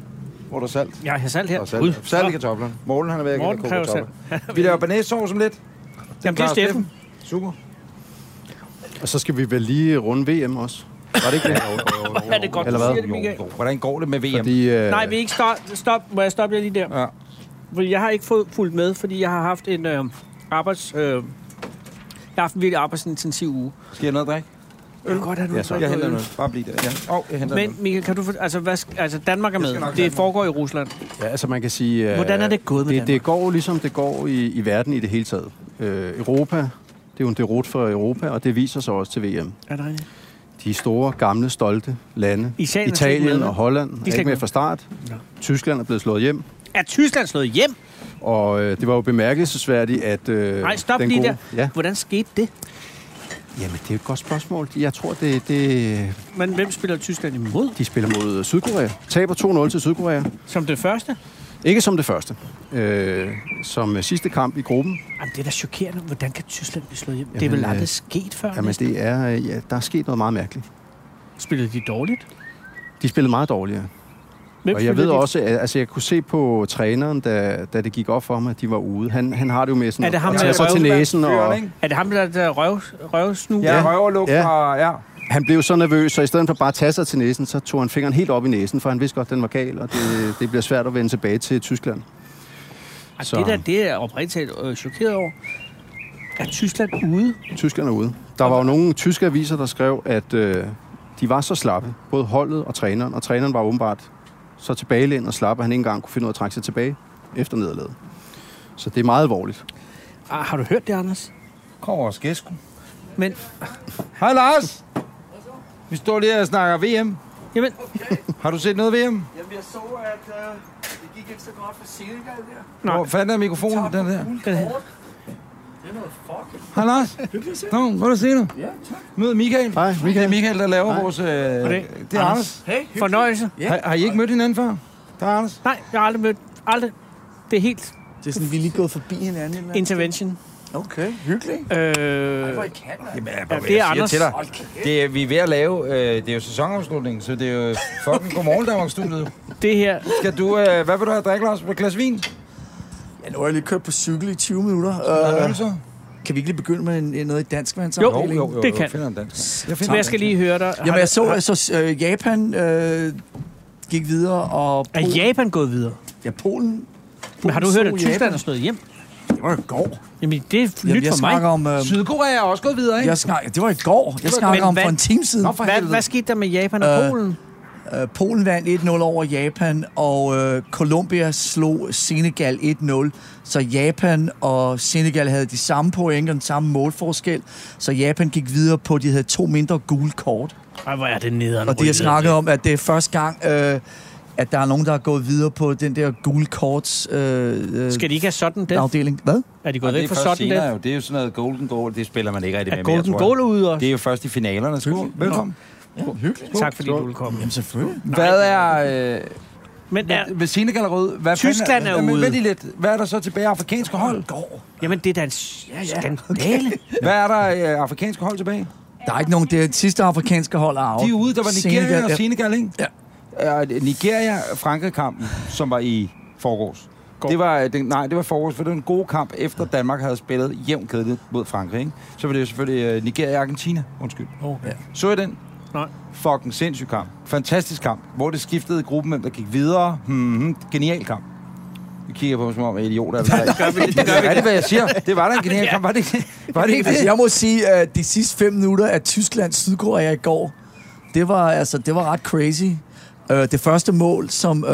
Speaker 2: Hvor er der salt?
Speaker 3: Jeg har salt her.
Speaker 2: Og salt. Salt i kartoflerne. Morgen, han er ved at
Speaker 3: Morten
Speaker 2: koge
Speaker 3: kræver salt.
Speaker 2: kartofler. Vi laver banæssovs om lidt.
Speaker 3: Jamen, det er Steffen.
Speaker 2: Super.
Speaker 7: Og så skal vi vel lige runde VM også. Var det ikke det?
Speaker 3: Ja, det er godt, du
Speaker 7: Eller hvad?
Speaker 3: siger det, Michael.
Speaker 2: Hvordan går det med VM? Fordi...
Speaker 7: Fordi, øh,
Speaker 3: Nej, vi er ikke stop. stop. Må jeg stoppe jer lige der?
Speaker 2: Ja.
Speaker 3: Fordi jeg har ikke fået fuldt med, fordi jeg har haft en øh, arbejds... Øh, jeg har haft en virkelig arbejdsintensiv uge.
Speaker 2: Skal jeg have noget at drikke?
Speaker 3: Jeg kan godt have, du
Speaker 2: Ja, så. Jeg henter noget. Bare bliv der. Ja. Oh, jeg henter noget.
Speaker 3: Men Michael, kan du... For, altså, hvad, sk- altså, Danmark er med.
Speaker 2: nok
Speaker 3: Det
Speaker 2: Danmark.
Speaker 3: foregår i Rusland.
Speaker 7: Ja, altså man kan sige... øh,
Speaker 3: Hvordan er det gået med
Speaker 7: det, det går ligesom det går i, i verden i det hele taget. Øh, Europa, det er jo en derot for Europa, og det viser sig også til VM.
Speaker 3: Er det rigtigt?
Speaker 7: De store, gamle, stolte lande,
Speaker 3: Italien er slet ikke
Speaker 7: Italien
Speaker 3: med,
Speaker 7: og
Speaker 3: vel?
Speaker 7: Holland, er
Speaker 3: ikke
Speaker 7: ikke
Speaker 3: med.
Speaker 7: med fra start.
Speaker 3: Nå.
Speaker 7: Tyskland er blevet slået hjem,
Speaker 3: Er Tyskland slået hjem?
Speaker 7: og øh, det var jo bemærkelsesværdigt, at... Øh,
Speaker 3: Nej, stop
Speaker 7: den
Speaker 3: lige
Speaker 7: gode,
Speaker 3: der.
Speaker 7: Ja.
Speaker 3: Hvordan skete det?
Speaker 7: Jamen, det er et godt spørgsmål. Jeg tror, det, det,
Speaker 3: Men hvem spiller Tyskland imod?
Speaker 7: de spiller mod Sydkorea. Taber 2-0 til Sydkorea.
Speaker 3: Som det første?
Speaker 7: Ikke som det første. Øh, som sidste kamp i gruppen.
Speaker 3: Jamen, det er da chokerende. Hvordan kan Tyskland blive slået hjem? det er
Speaker 7: Jamen,
Speaker 3: vel aldrig
Speaker 7: øh,
Speaker 3: sket før.
Speaker 7: Jamen, det er, øh, ja, der er sket noget meget mærkeligt.
Speaker 3: Spillede de dårligt?
Speaker 7: De spillede meget dårligere.
Speaker 3: Hvem
Speaker 7: Og jeg ved
Speaker 3: spillede de?
Speaker 7: også, at altså, jeg kunne se på træneren, da, da det gik op for ham, at de var ude. Han, han har det jo med sådan
Speaker 3: Er det ham,
Speaker 7: at
Speaker 3: der
Speaker 7: tage
Speaker 3: er
Speaker 7: sig til næsen. Og
Speaker 2: Fyren, ikke?
Speaker 3: Er det ham, der, der røv, røvsnu?
Speaker 2: Ja,
Speaker 7: Ja.
Speaker 2: røverluk
Speaker 7: Ja.
Speaker 2: fra... Ja.
Speaker 7: han blev så nervøs, så i stedet for bare at tage sig til næsen, så tog han fingeren helt op i næsen, for han vidste godt, at den var gal, og det, det bliver svært at vende tilbage til Tyskland.
Speaker 3: Altså,
Speaker 7: Så-
Speaker 3: det der, det er jeg oprigtigt talt øh, chokeret over. Er Tyskland ude?
Speaker 7: Tyskerne er ude. Der var jo nogle tyske aviser, der skrev, at øh, de var så slappe, både holdet og træneren, og træneren var åbenbart så tilbagelæn og slap, at han ikke engang kunne finde ud af at trække sig tilbage efter nederlaget. Så det er meget alvorligt.
Speaker 3: Ah, har du hørt det, Anders?
Speaker 2: Kom over, skæsko.
Speaker 3: Men,
Speaker 2: Hej, Lars. Vi står lige og snakker VM.
Speaker 3: jamen,
Speaker 2: Har du set noget VM?
Speaker 4: Jamen, jeg så, at øh, det gik ikke så godt for Senegal der.
Speaker 3: Nej.
Speaker 2: Hvor fanden er mikrofonen? Den der.
Speaker 3: den her.
Speaker 2: Hej, Lars. Nå, hvad du se nu? Ja, tak. Mød Michael.
Speaker 7: Hej,
Speaker 2: Det er
Speaker 7: Michael.
Speaker 2: Michael, der laver
Speaker 7: Hej.
Speaker 2: vores... Øh, det er Anders.
Speaker 4: Hey,
Speaker 3: fornøjelse.
Speaker 2: Har, har I ikke mødt hinanden før? Der er Anders.
Speaker 3: Nej, jeg har aldrig mødt. Aldrig. Det er helt
Speaker 6: Det er sådan, vi er lige gået forbi hinanden. Eller?
Speaker 3: intervention.
Speaker 6: Okay, hyggeligt.
Speaker 3: Øh,
Speaker 4: Hvor i Canada?
Speaker 2: Jamen, jeg,
Speaker 3: Ja, det er Anders.
Speaker 2: Til dig. Det er, vi er ved at lave... Øh, det er jo sæsonafslutningen, så det er jo fucking godmorgen, Danmark-studiet.
Speaker 3: det her,
Speaker 2: Skal du... Øh, hvad vil du have at drikke, Lars? Et glas vin?
Speaker 6: Ja, nu har jeg lige kørt på cykel i 20 minutter.
Speaker 2: Hvad
Speaker 6: Uh,
Speaker 2: øl så?
Speaker 6: kan vi ikke lige begynde med en, en- noget i dansk
Speaker 3: Jo,
Speaker 6: vandsamling?
Speaker 3: Øh, det kan.
Speaker 2: Jeg finder en dansk. Jeg
Speaker 3: men
Speaker 2: finder
Speaker 3: jeg skal lige høre dig. Har
Speaker 6: Jamen,
Speaker 3: du-
Speaker 6: jeg så, jeg så øh, Japan øh, gik videre, og
Speaker 3: Er
Speaker 6: Polen,
Speaker 3: Japan gået videre?
Speaker 6: ja, Polen,
Speaker 3: Men har du hørt,
Speaker 6: slog
Speaker 3: at Tyskland
Speaker 6: Japan.
Speaker 3: er slået hjem?
Speaker 6: det var i går.
Speaker 3: Jamen, det er
Speaker 6: Jamen,
Speaker 3: nyt
Speaker 6: jeg
Speaker 3: for mig.
Speaker 6: snakker om... Øh,
Speaker 2: Sydkorea er også gået videre, ikke?
Speaker 6: jeg snakker, det var i går. Jeg snakker
Speaker 3: Men
Speaker 6: om
Speaker 3: hvad-
Speaker 6: for en time siden.
Speaker 3: Hvad, hvad skete der med Japan og
Speaker 6: Øh,
Speaker 3: Polen?
Speaker 6: Øh, Polen vandt 1-0 over Japan, og øh, Colombia slog Senegal 1-0. Så Japan og Senegal havde de samme point og den samme målforskel. Så Japan gik videre på, at de havde to mindre gule kort.
Speaker 3: Ej, hvor er det nederen.
Speaker 6: Og de har snakket om, at det er første gang, øh, at der er nogen, der er gået videre på den der gule korts øh, øh,
Speaker 3: Skal de ikke have sådan det?
Speaker 6: afdeling. Hvad?
Speaker 3: Er de
Speaker 2: Og
Speaker 3: gået væk fra sådan
Speaker 2: senere,
Speaker 3: det?
Speaker 2: jo. Det er jo sådan noget Golden Goal, det spiller man ikke rigtig
Speaker 3: Er
Speaker 2: med
Speaker 3: Golden
Speaker 2: mere, tror jeg.
Speaker 3: Goal ude også?
Speaker 2: Det er jo først i finalerne. Skål. Velkommen.
Speaker 3: Tak fordi du vil komme.
Speaker 6: Jamen selvfølgelig.
Speaker 2: Hvad er... Øh,
Speaker 3: Men er,
Speaker 2: ved Senegal er rød? Hvad
Speaker 3: Tyskland
Speaker 2: fanden
Speaker 3: er
Speaker 2: Men
Speaker 3: ude.
Speaker 2: vent lige lidt. Hvad er der så tilbage af afrikanske hold?
Speaker 3: jamen, det er da en skandale.
Speaker 2: Hvad er der af øh, afrikanske hold tilbage?
Speaker 6: Der er ikke nogen. Det er sidste afrikanske hold er af.
Speaker 2: De er ude. Der var Nigeria
Speaker 6: Senegal,
Speaker 2: og
Speaker 6: ja.
Speaker 2: Senegal, ikke?
Speaker 6: Ja.
Speaker 2: Ja. Nigeria-Frankrig-kampen, som var i forgårs. Det var, øh, den, nej, det var forgårs, for det var en god kamp, efter Danmark havde spillet jævnt kedeligt mod Frankrig. Ikke? Så var det jo selvfølgelig øh, Nigeria og Argentina. Undskyld.
Speaker 3: Okay.
Speaker 2: Så I den?
Speaker 3: Nej.
Speaker 2: Fucking sindssyg kamp. Fantastisk kamp. Hvor det skiftede i gruppen, hvem der gik videre. Hmm, genial kamp. Vi kigger på dem som om jeg er idioter. Eller det gør vi, det gør vi. Er det, hvad jeg siger? Det var da en genial kamp. Var det ikke var det? Ikke
Speaker 6: Altså,
Speaker 2: det?
Speaker 6: jeg må sige, at de sidste fem minutter af Tyskland-Sydkorea i går, det var, altså, det var ret crazy. Øh, det første mål, som øh,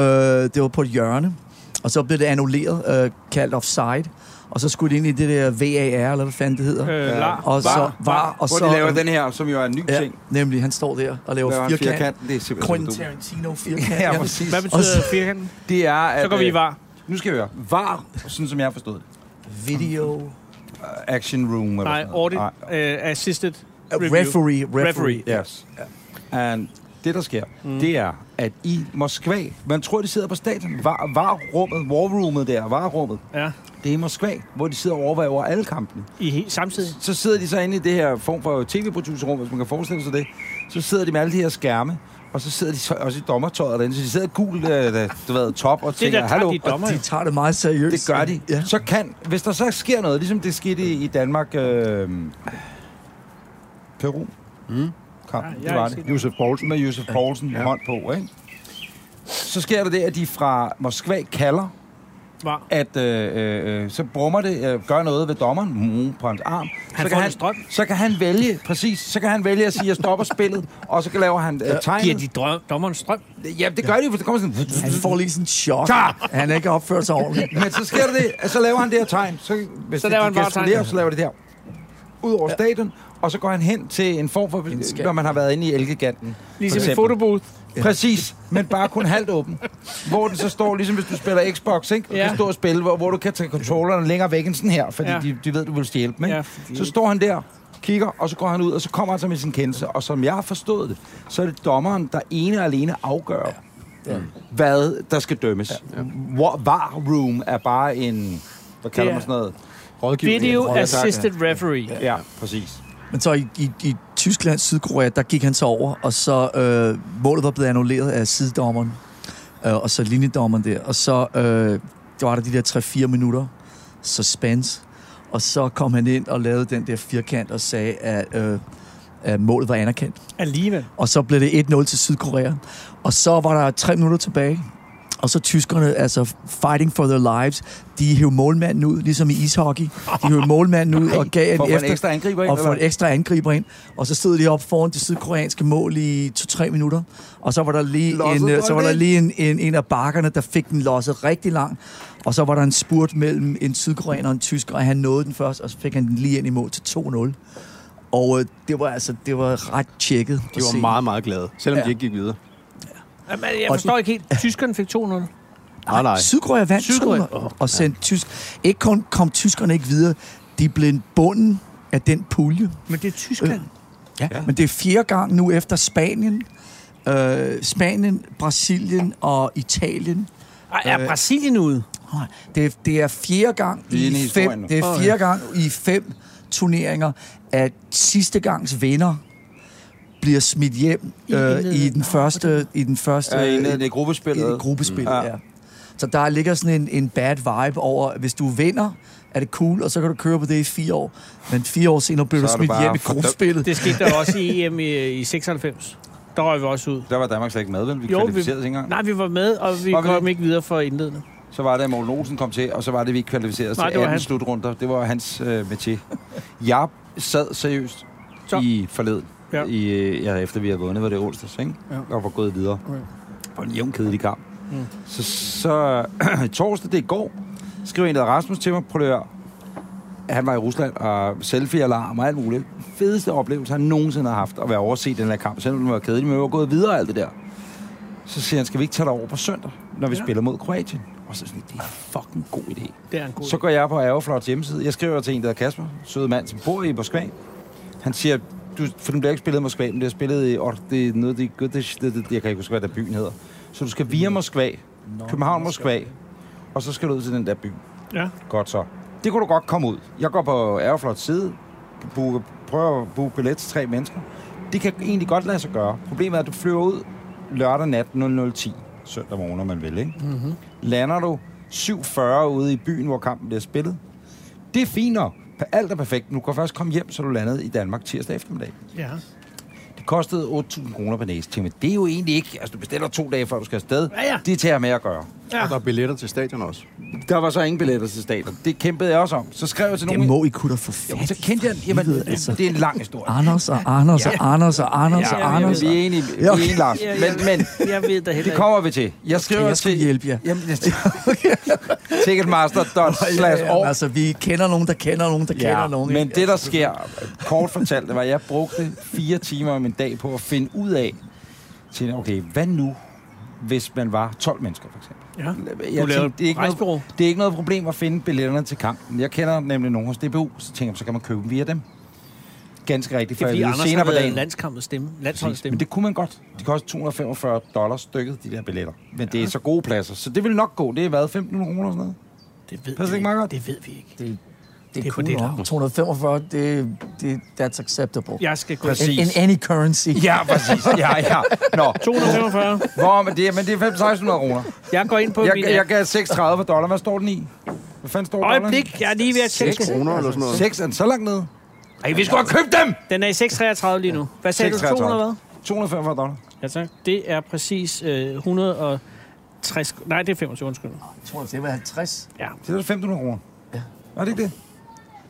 Speaker 6: det var på et hjørne, og så blev det annulleret, øh, kaldt offside. Og så skulle det ind i det der VAR, eller hvad fanden det hedder.
Speaker 3: Øh, lar.
Speaker 6: og så var, og
Speaker 2: Hvor
Speaker 6: så...
Speaker 2: de laver den her, som jo er en ny
Speaker 6: ja,
Speaker 2: ting.
Speaker 6: nemlig, han står der og laver,
Speaker 2: Laver en
Speaker 6: firkant.
Speaker 2: firkant. Det er simpelthen
Speaker 6: Quentin
Speaker 2: så dumt.
Speaker 6: Tarantino firkant.
Speaker 2: Ja, præcis.
Speaker 3: Hvad betyder firkanten?
Speaker 2: Det er, at,
Speaker 3: Så går vi i
Speaker 2: øh,
Speaker 3: var.
Speaker 2: Nu skal vi høre. VAR, sådan som jeg har forstået det.
Speaker 6: Video...
Speaker 2: Uh, Action room. Eller
Speaker 3: Nej,
Speaker 2: sådan noget.
Speaker 3: audit, uh, assisted, review.
Speaker 6: Referee, referee.
Speaker 3: Referee.
Speaker 2: Yes. And det, der sker, mm. det er, at i Moskva, man tror, de sidder på stadion, var, var rummet, war roomet der, var rummet,
Speaker 3: Ja,
Speaker 2: det er i Moskva, hvor de sidder og overvejer over alle kampene.
Speaker 3: i he- samtidig.
Speaker 2: Så sidder de så inde i det her form for tv-producerrum, hvis man kan forestille sig det. Så sidder de med alle de her skærme, Og så sidder de så også i dommertøjet derinde, så de sidder i gul øh, du ved, top og tænker,
Speaker 3: der tager
Speaker 2: hallo,
Speaker 3: de dommer,
Speaker 6: De tager det meget seriøst.
Speaker 2: det gør de.
Speaker 6: Ja.
Speaker 2: Ja. Så kan, hvis der så sker noget, ligesom det skete i, i Danmark, øh, Peru, mm. kampen,
Speaker 3: Nej, jeg
Speaker 2: ja,
Speaker 3: har
Speaker 2: det var
Speaker 3: ikke
Speaker 2: det.
Speaker 3: set
Speaker 2: Josef Poulsen. Med Josef Poulsen ja. hånd på, ikke? Så sker der det, at de fra Moskva kalder
Speaker 3: Var.
Speaker 2: at øh, øh, øh, så brummer det, øh, gør noget ved dommeren mm, på hans arm.
Speaker 3: Han
Speaker 2: så
Speaker 3: får
Speaker 2: kan
Speaker 3: en
Speaker 2: han,
Speaker 3: strøm.
Speaker 2: Så kan han vælge, præcis, så kan han vælge at sige, at jeg stopper spillet, og så laver han øh,
Speaker 3: Giver
Speaker 2: tegnet.
Speaker 3: de drøm, dommeren strøm?
Speaker 2: Ja, det gør de, for det kommer
Speaker 6: Han
Speaker 2: sådan...
Speaker 6: får lige sådan en chok.
Speaker 2: Klar!
Speaker 6: Han er ikke opført sig ordentligt.
Speaker 2: Men så sker der det, at så laver han det her tegn. Så, hvis
Speaker 3: Så
Speaker 2: det
Speaker 3: laver han bare
Speaker 2: gestikulerer,
Speaker 3: tegn.
Speaker 2: Så laver det der. Ud over stadion, og så går han hen til en form for... når man har været inde i Elgiganten.
Speaker 3: Ligesom
Speaker 2: eksempel.
Speaker 3: i fotobooth.
Speaker 2: Præcis, men bare kun halvt åben. Hvor den så står, ligesom hvis du spiller Xbox, ikke? Du
Speaker 3: Ja.
Speaker 2: kan stå og spille, hvor, hvor du kan tage controlleren længere væk end sådan her, fordi
Speaker 3: Ja.
Speaker 2: ja. de, de ved, du vil stjæle dem, ikke?
Speaker 3: Ja, fordi-
Speaker 2: Så står han der, kigger, og så går han ud, og så kommer han så med sin kendelse. Og som jeg har forstået det, så er det dommeren, der ene og alene afgør, ja. Ja. hvad der skal dømmes. Ja. Hvor, var room er bare en... Hvad kalder
Speaker 3: Det er-
Speaker 2: man sådan noget?
Speaker 7: Rådgivning.
Speaker 3: Video
Speaker 2: Ja, tak, ja.
Speaker 3: assisted referee.
Speaker 2: Ja, ja præcis.
Speaker 6: Men så i, i, i Tyskland, Sydkorea, der gik han så over, og så øh, målet var blevet annulleret af sidedommeren, øh, og så linjedommeren der. Og så øh, der var der de der 3-4 minutter suspense, og så kom han ind og lavede den der firkant og sagde, at, øh, at målet var anerkendt.
Speaker 3: Alligevel.
Speaker 6: Og så blev det 1-0 til Sydkorea. Og så var der tre minutter tilbage. Og så tyskerne, altså fighting for their lives, de hævde målmanden ud, ligesom i ishockey. De hævde målmanden ud og gav
Speaker 2: For
Speaker 6: en
Speaker 2: at få en
Speaker 6: efter,
Speaker 2: ekstra angriber ind,
Speaker 6: og få en
Speaker 2: eller?
Speaker 6: ekstra angriber ind. Og så stod de op foran det sydkoreanske mål i 2-3 minutter. Og så var der lige,
Speaker 2: Losset
Speaker 6: en, øh, så var der
Speaker 2: bolden.
Speaker 6: lige en, en, en af bakkerne, der fik den losset rigtig langt. Og så var der en spurt mellem en sydkoreaner og en tysker, og han nåede den først, og så fik han den lige ind i mål til 2-0. Og øh, det var altså det var ret tjekket.
Speaker 7: De var meget, meget glade, selvom
Speaker 6: Ja.
Speaker 7: ja. de ikke gik videre.
Speaker 3: Jamen, jeg
Speaker 6: Og
Speaker 3: forstår ikke helt. Tyskerne fik 200.
Speaker 7: Nej, nej.
Speaker 6: Sydkorea vandt
Speaker 3: Sydkorea.
Speaker 6: Sydkorea. og sendte ja. tysk. Ikke kun kom tyskerne ikke videre, de blev bunden af den pulje.
Speaker 3: Men det er Tyskland.
Speaker 6: Ja. Men det er fjerde gang nu efter Spanien, øh, Spanien, Brasilien og Italien.
Speaker 3: Øh, Ej,
Speaker 6: Øh.
Speaker 3: er Brasilien ude?
Speaker 6: Nej, Det er, det er fjerde gang
Speaker 2: Vi er inde i
Speaker 6: i
Speaker 2: historien
Speaker 6: fem,
Speaker 2: nu.
Speaker 6: det er fjerde gang i fem turneringer, at sidste gangs vinder bliver smidt hjem øh, i den første i den første
Speaker 2: Ja, i- i
Speaker 6: i-
Speaker 2: gruppespillet.
Speaker 6: i det gruppespil,
Speaker 2: Mm.
Speaker 6: ja. ja. Så der ligger sådan en, en bad vibe over, hvis du vinder, er det cool, og så kan du køre på det i fire år. Men fire år senere
Speaker 2: Så
Speaker 6: bliver du
Speaker 2: er du
Speaker 6: smidt
Speaker 2: bare
Speaker 6: hjem i
Speaker 2: fordømt.
Speaker 6: gruppespillet.
Speaker 3: Det skete der også i EM i, i 96. Der røg vi også ud.
Speaker 2: Der var Danmark slet ikke med, vel? Vi
Speaker 3: Jo, vi-
Speaker 2: kvalificerede os ikke engang.
Speaker 3: Nej, vi var med, og vi
Speaker 2: Var vi
Speaker 3: kom
Speaker 2: det?
Speaker 3: ikke videre for indledende.
Speaker 2: Så var det, at Morten Olsen kom til, og så var det, at vi ikke kvalificerede os til
Speaker 3: Nej, det var
Speaker 2: 18
Speaker 3: han.
Speaker 2: slutrunder. Det var hans øh, metier. Jeg sad seriøst
Speaker 3: Så.
Speaker 2: så. i forleden,
Speaker 3: Ja.
Speaker 2: ja. i, øh, ja, efter vi havde vundet, var det onsdags, ikke? Ja. og var gået videre
Speaker 7: Okay.
Speaker 2: på en jævn kedelig kamp. Mm. Så, så torsdag, det er i går, skrev en, der hedder Rasmus til mig, prøv lige at høre. han var i Rusland, og selfie-alarm og alt muligt. Fedeste oplevelse, han nogensinde har haft, at være overset i den her kamp, selvom den var kedelig, men vi var gået videre og alt det der. Så siger han, skal vi ikke tage dig over på søndag, når vi
Speaker 3: Ja.
Speaker 2: ja. spiller mod Kroatien? Og så er jeg sådan, det er en fucking god idé.
Speaker 3: Det er en god
Speaker 2: Så går jeg på Aeroflots hjemmeside. Jeg skriver til en, der hedder Kasper, sød mand, som bor i Moskva. Han siger, du, for den bliver ikke spillet i Moskva, den bliver spillet i Or, det er noget, det er godt, det, det, det, jeg kan ikke huske, hvad der byen hedder. Så du skal via Moskva, København, Moskva, og så skal du ud til den der by.
Speaker 3: Ja.
Speaker 2: Godt så. Det kunne du godt komme ud. Jeg går på Aeroflots side, booker, prøver at booke billet til tre mennesker. Det kan egentlig godt lade sig gøre. Problemet er, at du flyver ud lørdag nat 00.10, søndag morgen, om man vil, ikke?
Speaker 3: Mhm.
Speaker 2: Mm-hmm. Lander du 7.40 ude i byen, hvor kampen bliver spillet. Det er fint nok. Alt er perfekt. Nu kan først komme hjem, så du landede i Danmark tirsdag eftermiddag.
Speaker 3: ja.
Speaker 2: Det kostede 8.000 kroner per næse. Tænkte, men det er jo egentlig ikke... Altså, du bestiller to dage, før du skal afsted.
Speaker 3: Ja, ja.
Speaker 2: Det tager jeg med at gøre.
Speaker 3: Ja.
Speaker 7: Og der er billetter til stadion også.
Speaker 2: Der var så ingen billetter til staten. Det kæmpede jeg også om. Så skrev jeg til nogen...
Speaker 6: Det må I kunne da få
Speaker 2: Jamen, så
Speaker 6: fat. i.
Speaker 2: kendte jeg... Jamen,
Speaker 6: helvede,
Speaker 2: altså. det er en lang historie.
Speaker 6: Anders og Anders og Anders og Anders
Speaker 3: Ja,
Speaker 6: og
Speaker 3: ja,
Speaker 6: Anders.
Speaker 2: vi er enige, vi er enige Lars.
Speaker 3: Ja, ja.
Speaker 2: Men, men
Speaker 3: Jeg ved da heller
Speaker 2: det
Speaker 3: ikke.
Speaker 2: kommer vi til. Jeg skriver
Speaker 6: jeg
Speaker 2: til...
Speaker 6: skulle hjælpe jer.
Speaker 2: Jamen, jeg... Ticketmaster dot slash
Speaker 6: Jamen, altså, vi kender nogen, der kender nogen, der ja, kender nogen.
Speaker 2: men
Speaker 6: ikke?
Speaker 2: det, der sker, kort fortalt, det var, at jeg brugte fire timer om en dag på at finde ud af, til, okay, hvad nu, hvis man var 12 mennesker, for eksempel?
Speaker 3: Ja.
Speaker 2: Jeg
Speaker 3: lavede
Speaker 2: tænkte, det, er ikke
Speaker 3: rejsebureau.
Speaker 2: noget, det er ikke noget problem at finde billetterne til kampen. Jeg kender nemlig nogen hos DBU, så tænker jeg, så kan man købe dem via dem. Ganske rigtigt,
Speaker 3: Det
Speaker 2: for
Speaker 3: er
Speaker 2: jeg
Speaker 3: fordi,
Speaker 2: ved
Speaker 3: Anders
Speaker 2: senere
Speaker 3: har
Speaker 2: på
Speaker 3: været
Speaker 2: dagen.
Speaker 3: landskampets stemme. Landsholdets
Speaker 2: Præcis.
Speaker 3: stemme.
Speaker 2: Men det kunne man godt. De koster 245 dollars stykket, de der billetter. Men ja. det er så gode pladser, så det vil nok gå. Det er hvad, 1.500 kroner og sådan noget?
Speaker 3: det ved
Speaker 2: passer
Speaker 3: vi
Speaker 2: ikke meget godt.
Speaker 3: Det ved vi ikke.
Speaker 6: det
Speaker 3: Det
Speaker 6: er
Speaker 3: er på
Speaker 6: cool
Speaker 3: det
Speaker 6: nok.
Speaker 3: lav.
Speaker 6: 245, det, det, that's acceptable.
Speaker 3: Jeg skal gå
Speaker 2: Præcis.
Speaker 6: In, in any currency.
Speaker 2: Ja, præcis. Ja, ja. Nå,
Speaker 3: 245.
Speaker 2: hvor, men det, er- men det er 500 kroner.
Speaker 3: Jeg går ind på min...
Speaker 2: Jeg, jeg gav 36 for dollar. Hvad står den i? Hvad fanden står dollaren?
Speaker 3: Øjeblik, jeg er lige ved at tjekke.
Speaker 7: 6 kroner eller sådan noget.
Speaker 2: 6 er den så langt ned. Ej, vi skulle have købt dem!
Speaker 3: Den er i 633 lige nu. Hvad sagde du?
Speaker 2: 6,33.
Speaker 3: 200 hvad?
Speaker 2: 245 dollar.
Speaker 3: Ja, tak. Det er præcis øh, 160... Nej, det er 25, undskyld.
Speaker 6: Jeg tror, det var 50.
Speaker 2: Det er da 1500 kroner. Ja. Er det ikke det?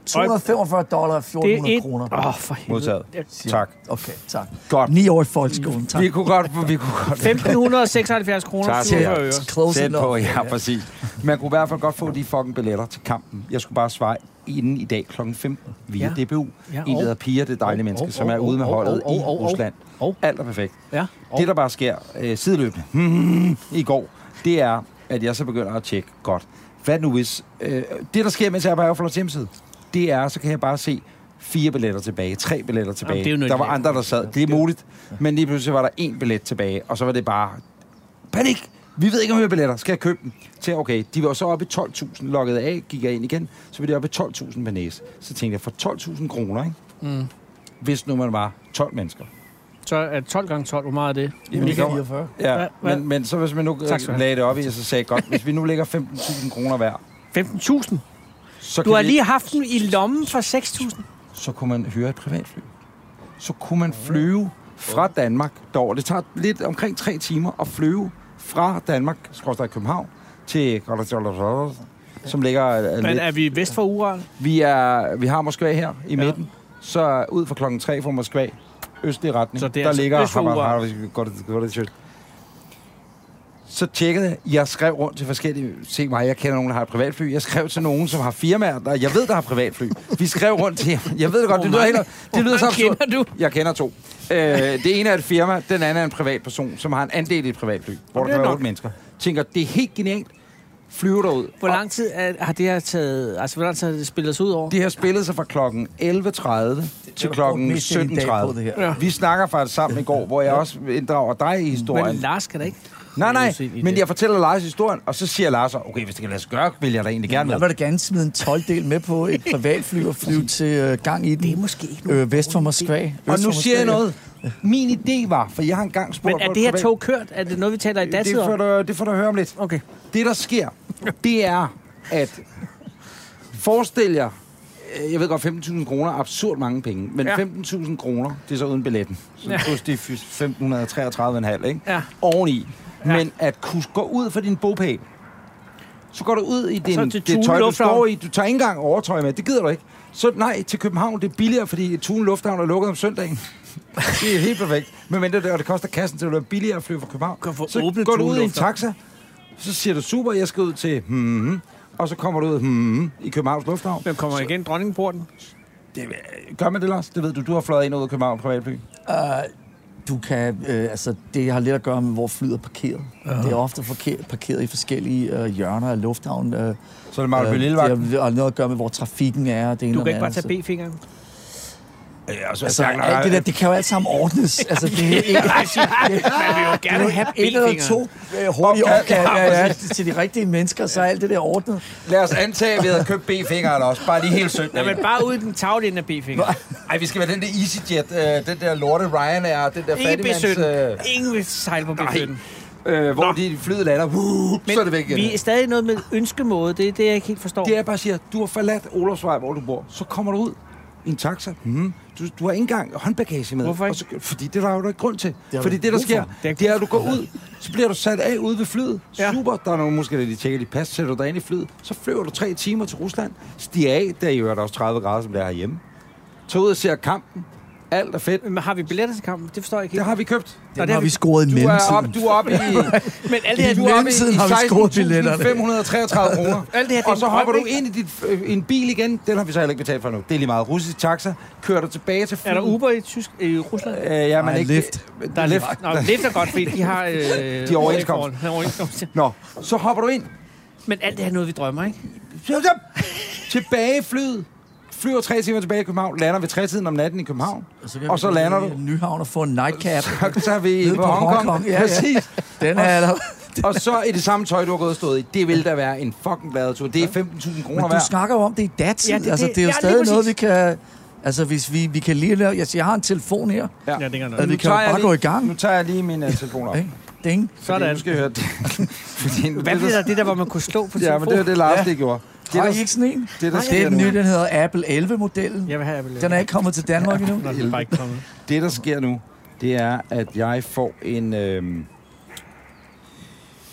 Speaker 6: 245 dollar og
Speaker 3: Det er
Speaker 6: 1400
Speaker 3: et...
Speaker 6: kroner.
Speaker 3: Åh, oh, for helvede.
Speaker 2: Modtaget.
Speaker 3: Jeg-
Speaker 2: Tak.
Speaker 6: Okay, tak.
Speaker 2: Godt.
Speaker 6: 9 år i folkeskolen, tak.
Speaker 2: Vi kunne godt... Vi kunne godt
Speaker 3: 1576 kroner,
Speaker 2: Tak.
Speaker 3: 47
Speaker 2: Ja.
Speaker 3: øre.
Speaker 6: Close
Speaker 2: Sæt
Speaker 6: enough.
Speaker 2: på, ja, præcis. Man kunne i hvert fald godt få de fucking billetter til kampen. Jeg skulle bare svare inden i dag kl. 15 via
Speaker 3: Ja.
Speaker 2: ja. DBU.
Speaker 3: Ja,
Speaker 2: Ja, en, der
Speaker 3: og-
Speaker 2: hedder Pia, det dejlige
Speaker 3: og-
Speaker 2: menneske,
Speaker 3: og-
Speaker 2: som er
Speaker 3: og-
Speaker 2: ude med
Speaker 3: og-
Speaker 2: holdet
Speaker 3: og-
Speaker 2: i
Speaker 3: og- og-
Speaker 2: Rusland.
Speaker 3: og-
Speaker 2: Alt er perfekt.
Speaker 3: Ja.
Speaker 2: Det, der bare sker øh, sideløbende i går, det er, at jeg så begynder at tjekke godt. Hvad nu hvis... Øh, det, der sker, mens jeg er på Aeroflots hjemmeside, det er, så kan jeg bare se fire billetter tilbage, tre billetter tilbage.
Speaker 3: det er jo noget
Speaker 2: der var
Speaker 3: andet.
Speaker 2: andre, der sad. Det er muligt. Men lige pludselig var der en billet tilbage, og så var det bare... Panik! Vi ved ikke, om jeg har billetter. Skal jeg købe dem? Så okay, de var så oppe i 12.000, logget af, gik jeg ind igen, så var de oppe i 12.000 per næse. Så tænkte jeg, for 12.000 kroner, ikke? Mm. hvis nu man var 12 mennesker.
Speaker 3: Så er 12 gange 12, hvor meget er det?
Speaker 2: Jamen, det kommer-
Speaker 6: 49.
Speaker 2: Ja,
Speaker 3: Hvad- hvad-
Speaker 2: men, men så hvis man nu øh,
Speaker 3: Tak skal du have.
Speaker 2: lagde det op i, og så sagde jeg, godt, hvis vi nu lægger 15.000 kroner hver,
Speaker 3: 15.000?
Speaker 2: så,
Speaker 3: Du
Speaker 2: kan
Speaker 3: har
Speaker 2: vi,
Speaker 3: lige haft den i lommen for 6.000.
Speaker 2: så kunne man hyre et privatfly. Så kunne man flyve fra Danmark derover. Det tager lidt omkring tre timer at flyve fra Danmark, skråstrej København, til som ligger øh,
Speaker 3: Men
Speaker 2: lidt
Speaker 3: er vi vest for Ural?
Speaker 2: Vi, er, vi har Moskva her i ja. midten. Så ud fra klokken 3 fra Moskva, østlig retning,
Speaker 3: Så det er
Speaker 2: der
Speaker 3: altså
Speaker 2: ligger
Speaker 3: øst for
Speaker 2: Hamar-
Speaker 3: Ural.
Speaker 2: Hamar- godt- godt- godt- Så tjekkede jeg. Jeg skrev rundt til forskellige... Se mig, jeg kender nogen, der har et privatfly. Jeg skrev til nogen, som har firmaer, der... Jeg ved, der har privatfly. Vi skrev rundt til... Jeg ved det godt, det lyder, helt, det lyder så
Speaker 3: mange
Speaker 2: absurd.
Speaker 3: kender du?
Speaker 2: Jeg kender to. Øh, det ene er et firma, den anden er en privatperson, som har en andel i et privatfly, hvor der
Speaker 3: er
Speaker 2: kan være
Speaker 3: nok.
Speaker 2: otte mennesker. Tænker, det er helt genialt. Flyver derud.
Speaker 3: Hvor lang tid er, har det her taget... Altså, hvor lang tid har det spillet sig ud over?
Speaker 2: Det har spillet sig fra klokken 11.30 til
Speaker 6: har
Speaker 2: klokken
Speaker 6: brugt mest af din dag på
Speaker 2: 17.30.
Speaker 6: det her.
Speaker 3: Ja.
Speaker 2: Vi snakker faktisk sammen i går, hvor jeg også inddrager dig i
Speaker 3: Men
Speaker 2: historien.
Speaker 3: Lars skal da ikke...
Speaker 2: Nej, nej,
Speaker 3: Udsigt i
Speaker 2: men
Speaker 3: det.
Speaker 2: jeg fortæller Lars historien, og så siger Lars, okay, hvis det kan lade sig gøre, vil jeg da egentlig gerne
Speaker 6: Jeg
Speaker 2: med.
Speaker 6: vil da gerne smide en 12-del med på et privatfly og flyve til øh, gang i den.
Speaker 3: Det er måske ikke nogen
Speaker 6: øh, Vest for
Speaker 3: dårlig
Speaker 6: Moskva. Øst
Speaker 2: Og nu
Speaker 6: for
Speaker 2: siger jeg
Speaker 6: Moskva.
Speaker 2: noget. Min idé var, for jeg har engang spurgt...
Speaker 3: Men er
Speaker 2: folk
Speaker 3: det her
Speaker 2: privat-
Speaker 3: tog kørt? Er det noget, vi taler i datid
Speaker 2: det får,
Speaker 3: om?
Speaker 2: du, det får du at høre om lidt.
Speaker 3: Okay.
Speaker 2: Det, der sker, det er, at forestil jer, øh, jeg ved godt, 15.000 kroner er absurd mange penge, men
Speaker 3: Ja.
Speaker 2: ja. 15.000 kroner, det er så uden billetten. Så
Speaker 3: Ja.
Speaker 2: ja. det er 1533,5, ikke?
Speaker 3: Ja.
Speaker 2: Oveni.
Speaker 3: Ja.
Speaker 2: Ja. Men at kunne gå ud fra din bogpæl, så går du ud i
Speaker 3: så
Speaker 2: din,
Speaker 3: til
Speaker 2: det
Speaker 3: Thule
Speaker 2: tøj, du
Speaker 3: Lufthavn.
Speaker 2: står i. Du tager ikke engang overtøj med. Det gider du ikke. Så nej, til København, det er billigere, fordi Tune Lufthavn er lukket om søndagen. Det er helt perfekt. Men mindre det, og det koster kassen til at være billigere at flyve fra København.
Speaker 3: Kan få
Speaker 2: Så
Speaker 3: åbnet
Speaker 2: går du ud
Speaker 3: Thule
Speaker 2: i en
Speaker 3: Lufthavn.
Speaker 2: taxa, så siger du, super, jeg skal ud til hmm, og så kommer du ud hmm, i Københavns Lufthavn.
Speaker 3: Hvem kommer igen? Dronningporten?
Speaker 2: Det, gør man det, Lars? Det ved du. Du har fløjet ind og ud af København privatby.
Speaker 6: Du kan, øh, altså, det har lidt at gøre med, hvor flyet er parkeret. Det er ofte parkeret, parkeret i forskellige øh, hjørner af lufthavnen. Øh,
Speaker 2: Så er det Marlbø
Speaker 6: øh,
Speaker 2: øh,
Speaker 6: det
Speaker 2: Lillevagt.
Speaker 6: har- har noget at gøre med, hvor trafikken er. og Det ene
Speaker 3: Du
Speaker 6: og
Speaker 3: kan
Speaker 6: det
Speaker 3: ikke bare
Speaker 6: andet, så-
Speaker 3: tage B-fingeren.
Speaker 2: Ja, og så
Speaker 6: Altså, alt det der, det kan jo alt sammen ordnes. Altså, det er ikke... Man vil jo gerne have Et eller to øh, hurtige
Speaker 2: Okay,
Speaker 6: opgaver
Speaker 2: ja,
Speaker 6: ja, ja, til de rigtige mennesker, så er alt det der ordnet.
Speaker 2: Lad os antage, at vi havde købt B-fingeren også. Bare lige helt sødt.
Speaker 3: Nej, men bare ud i den tavle inden af B-fingeren.
Speaker 2: Ej, vi skal være den der EasyJet, øh, den der lorte Ryanair, den der
Speaker 3: Ikke
Speaker 2: fattigmands...
Speaker 3: B-17.
Speaker 2: Øh,
Speaker 3: Ingen vil sejle på B-17.
Speaker 2: øh, hvor
Speaker 3: Nå.
Speaker 2: de flyet lander, uh, så er det væk igen.
Speaker 3: vi er stadig noget med ønskemåde. Det er det, jeg ikke helt forstår.
Speaker 2: Det er bare at sige, at du har forladt Olofsvej, hvor du bor. Så kommer du ud i en taxa. Mm. Du, du har ikke engang håndbagage med.
Speaker 3: Hvorfor ikke?
Speaker 2: Og så, fordi det er der jo ikke grund til.
Speaker 6: har
Speaker 2: fordi
Speaker 6: du
Speaker 2: det, der
Speaker 6: brug for.
Speaker 2: sker,
Speaker 3: Det er
Speaker 2: det er, at du går ud, så bliver du sat af ude ved flyet.
Speaker 3: Ja.
Speaker 2: Ja. Super. Der er nogen, måske der lige tjekker dit pas, sætter du dig ind i flyet. Så flyver du tre timer til Rusland. Stiger af, der er jo også 30 grader, som det er herhjemme. Tag ud og ser kampen. Alt er fedt.
Speaker 3: Men har vi billetter til kampen? Det forstår jeg ikke
Speaker 2: Det
Speaker 3: helt.
Speaker 2: har vi købt.
Speaker 3: Nå,
Speaker 6: Den
Speaker 3: det
Speaker 6: har
Speaker 3: har
Speaker 6: vi
Speaker 3: vi-
Speaker 6: scoret i
Speaker 2: Du er
Speaker 6: mellemtiden.
Speaker 2: oppe du er op i...
Speaker 3: Men alt det
Speaker 6: I
Speaker 3: her,
Speaker 2: Du er oppe
Speaker 6: mellemtiden har vi skåret billetterne.
Speaker 2: 16.533 kroner.
Speaker 3: Alt det her, det er
Speaker 2: og så
Speaker 3: en
Speaker 2: hopper
Speaker 3: drøm,
Speaker 2: du ind i dit, øh, en bil igen. Den har vi så heller ikke betalt for nu. Det er lige meget russisk taxa. Kører du tilbage til
Speaker 3: er
Speaker 2: flyet.
Speaker 3: der Uber i, Tysk, i Rusland?
Speaker 2: Øh, ja, men
Speaker 6: Nej,
Speaker 2: ikke...
Speaker 6: Lyft.
Speaker 2: Der er lift.
Speaker 3: Nå, Lyft er godt, fordi de har... Øh,
Speaker 2: De har overenskomst.
Speaker 3: overforhold. De har overenskomst. ja.
Speaker 2: Nå, så hopper du ind.
Speaker 3: Men alt det her er noget, vi drømmer, ikke?
Speaker 2: Jup, jup. Tilbage i flyet. Flyver tre timer tilbage i København. Lander ved tretiden om natten i København.
Speaker 6: kan
Speaker 2: Og
Speaker 6: vi
Speaker 2: så
Speaker 6: gå
Speaker 2: lander
Speaker 6: ned
Speaker 2: du.
Speaker 6: i Nyhavn og få en nightcap.
Speaker 2: Så tager vi
Speaker 6: Nede
Speaker 2: på Hongkong.
Speaker 6: Ja, ja.
Speaker 2: Præcis.
Speaker 6: Den er der.
Speaker 2: og så i det samme tøj, du har gået og stået i. Det vil da være en fucking badetur. Det er 15.000 kroner
Speaker 6: Men du
Speaker 2: værd.
Speaker 6: snakker jo om det i datid.
Speaker 3: Ja,
Speaker 6: Ja,
Speaker 3: det-
Speaker 6: det, altså,
Speaker 3: det-
Speaker 6: det er jo
Speaker 3: ja, lige
Speaker 6: stadig noget, vi
Speaker 3: præcis.
Speaker 6: kan... Altså, hvis vi, vi kan lige lave... Jeg, jeg har en telefon her.
Speaker 3: Ja, det kan
Speaker 6: Ja,
Speaker 3: noget.
Speaker 6: vi kan jo
Speaker 2: tager jeg
Speaker 6: bare
Speaker 2: lige-
Speaker 6: gå i gang.
Speaker 2: Nu tager jeg lige min uh, telefon op.
Speaker 6: Ikke? Ding.
Speaker 2: Fordi
Speaker 3: Sådan.
Speaker 2: Nu skal jeg høre det. Fordi nu-
Speaker 3: Hvad blev der det der, hvor man kunne slå på
Speaker 2: Ja,
Speaker 3: telefonen?
Speaker 2: men det var det, Lars ja. det gjorde. Det,
Speaker 6: Har
Speaker 2: der,
Speaker 6: I ikke sådan en?
Speaker 2: det, der,
Speaker 6: Det
Speaker 2: sker
Speaker 6: er den
Speaker 2: nu,
Speaker 6: nye, den hedder Apple 11-modellen.
Speaker 3: Jeg vil have Apple.
Speaker 6: Den er ikke kommet til Danmark endnu.
Speaker 3: Nå, den er bare ikke kommet.
Speaker 2: det, der sker nu, det er, at jeg får en... Øh,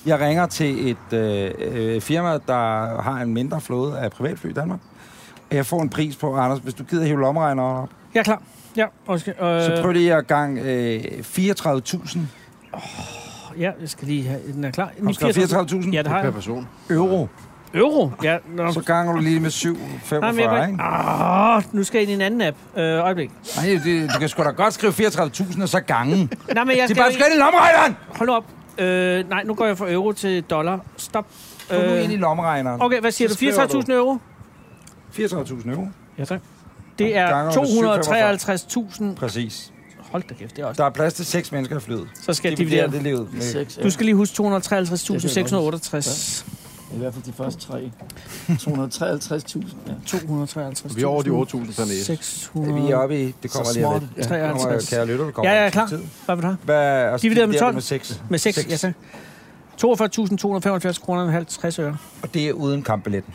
Speaker 2: jeg ringer til et øh, øh, firma, der har en mindre flåde af privatfly i Danmark. Jeg får en pris på, Anders, hvis du gider hive lommeregneren op,
Speaker 3: Jeg er klar. Ja, undskyld. Øh,
Speaker 2: så prøv lige at gang øh, 34.000.
Speaker 3: Ja, jeg skal lige have... Den er klar.
Speaker 2: Har du skrevet 34.000
Speaker 3: Ja, det har
Speaker 7: Per
Speaker 3: jeg.
Speaker 7: person.
Speaker 2: euro.
Speaker 3: Euro? Ja, nå.
Speaker 2: Så ganger du lige med 7,45,
Speaker 3: Nej, men jeg kan
Speaker 2: ikke?
Speaker 3: ikke. Arh, nu skal jeg ind i en anden app. Øh, øjeblik.
Speaker 2: Nej, det, du kan sgu da godt skrive 34.000 og så gange. Det
Speaker 3: Nej, men jeg
Speaker 2: er
Speaker 3: skal...
Speaker 2: bare, du skal ind i lommeregneren!
Speaker 3: Hold nu op. Øh, nej, nu går jeg fra euro til dollar. Stop. Øh,
Speaker 2: Du er nu ind i lommeregneren.
Speaker 3: okay, hvad siger
Speaker 2: Så
Speaker 3: du?
Speaker 2: skriver du.
Speaker 3: 34.000 euro?
Speaker 2: 34.000 euro.
Speaker 3: Ja, tak. Det
Speaker 2: Ganger
Speaker 3: er
Speaker 2: med
Speaker 3: 253.000...
Speaker 2: Præcis.
Speaker 3: Hold da kæft, det er også...
Speaker 2: Der er plads til seks mennesker i flyet.
Speaker 3: Så skal jeg
Speaker 2: Dividerer
Speaker 3: dividere
Speaker 2: det
Speaker 3: det.
Speaker 2: livet. med-
Speaker 3: Du skal lige huske 253.668.
Speaker 8: I hvert fald de første tre. 253.000. Ja.
Speaker 3: 253.
Speaker 7: Vi er over de 8.000 per næse.
Speaker 3: 600.
Speaker 2: Vi er oppe i, det kommer lige om lidt.
Speaker 3: smart.
Speaker 2: Det kommer,
Speaker 3: 53.
Speaker 2: Kære lytter, det kommer
Speaker 3: Ja, jeg er
Speaker 2: om
Speaker 3: klar.
Speaker 2: tid.
Speaker 3: Hvad vil du have?
Speaker 2: Hvad, og så
Speaker 3: Divideret med
Speaker 2: dividerer
Speaker 3: 12.
Speaker 2: det Med 6.
Speaker 3: Med 6,
Speaker 2: Seks.
Speaker 3: ja tak. 42.275 kroner og 50 øre.
Speaker 2: Og det er uden kampbilletten.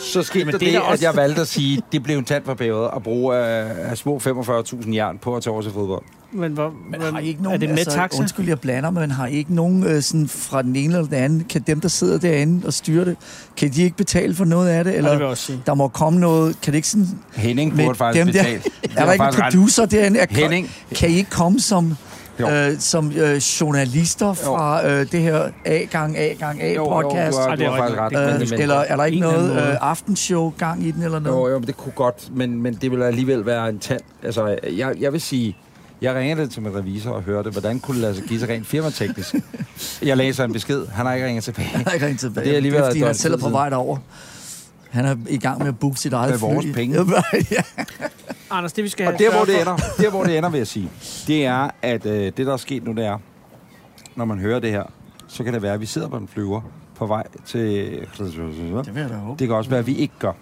Speaker 2: Så skete
Speaker 3: Jamen,
Speaker 2: der
Speaker 3: det er
Speaker 2: det,
Speaker 3: da også-
Speaker 2: at jeg valgte at sige, det blev en tand for pævet at bruge øh, små 45.000 jern på at tage over til fodbold.
Speaker 3: Men, hvor,
Speaker 6: Men
Speaker 3: hvor-
Speaker 6: har I ikke nogen,
Speaker 3: er det med
Speaker 6: altså,
Speaker 3: taxa?
Speaker 6: Undskyld, jeg blander, men har I ikke nogen øh, sådan, fra den ene eller den anden? Kan dem, der sidder derinde og styrer det, kan de ikke betale for noget af det?
Speaker 3: Eller,
Speaker 6: Eller
Speaker 3: det vil jeg også sige.
Speaker 6: der må komme noget? Kan det ikke sådan...
Speaker 2: Henning
Speaker 6: med
Speaker 2: burde faktisk
Speaker 6: dem der-
Speaker 2: betale. Det var
Speaker 6: Er der ikke en
Speaker 2: faktisk ret-
Speaker 6: producer derinde? Er,
Speaker 2: Henning.
Speaker 6: Kan I ikke komme som,
Speaker 2: Jo.
Speaker 6: øh, som øh, journalister fra øh, det her A-gang, A-gang,
Speaker 2: Jo, jo, du
Speaker 6: A-podcast?
Speaker 2: har,
Speaker 3: Ej,
Speaker 2: du
Speaker 3: det er
Speaker 2: har faktisk ret.
Speaker 3: rigtigt.
Speaker 2: men-
Speaker 6: Øh,
Speaker 2: men-
Speaker 6: eller er der ikke
Speaker 3: en eller anden
Speaker 6: noget
Speaker 3: måde.
Speaker 6: øh, aftenshow-gang i den eller noget?
Speaker 2: Jo, jo, men det kunne godt, men, men det ville alligevel være en tand. Altså, jeg, jeg vil sige, jeg ringede til min revisor og hørte, hvordan kunne det lade sig give sig rent firmateknisk. Jeg læser en besked, han har ikke ringet tilbage.
Speaker 6: Jeg har ikke ringet tilbage.
Speaker 2: Det er alligevel
Speaker 6: fordi,
Speaker 2: et
Speaker 6: han
Speaker 2: døgn
Speaker 6: selv er
Speaker 2: tid
Speaker 6: på vej derover. Han er i gang med at booke sit eget
Speaker 2: Med vores
Speaker 6: fly.
Speaker 2: penge.
Speaker 6: ja.
Speaker 3: Anders, det vi skal
Speaker 2: Og
Speaker 3: have
Speaker 2: der, hvor
Speaker 3: sørget
Speaker 2: det
Speaker 3: for-
Speaker 2: ender, der, hvor det ender vil jeg sige, det er, at øh, det, der er sket nu, det er, når man hører det her, så kan det være, at vi sidder på en flyver på vej til...
Speaker 6: Det vil jeg da håbe.
Speaker 2: Det kan også være, at vi ikke gør.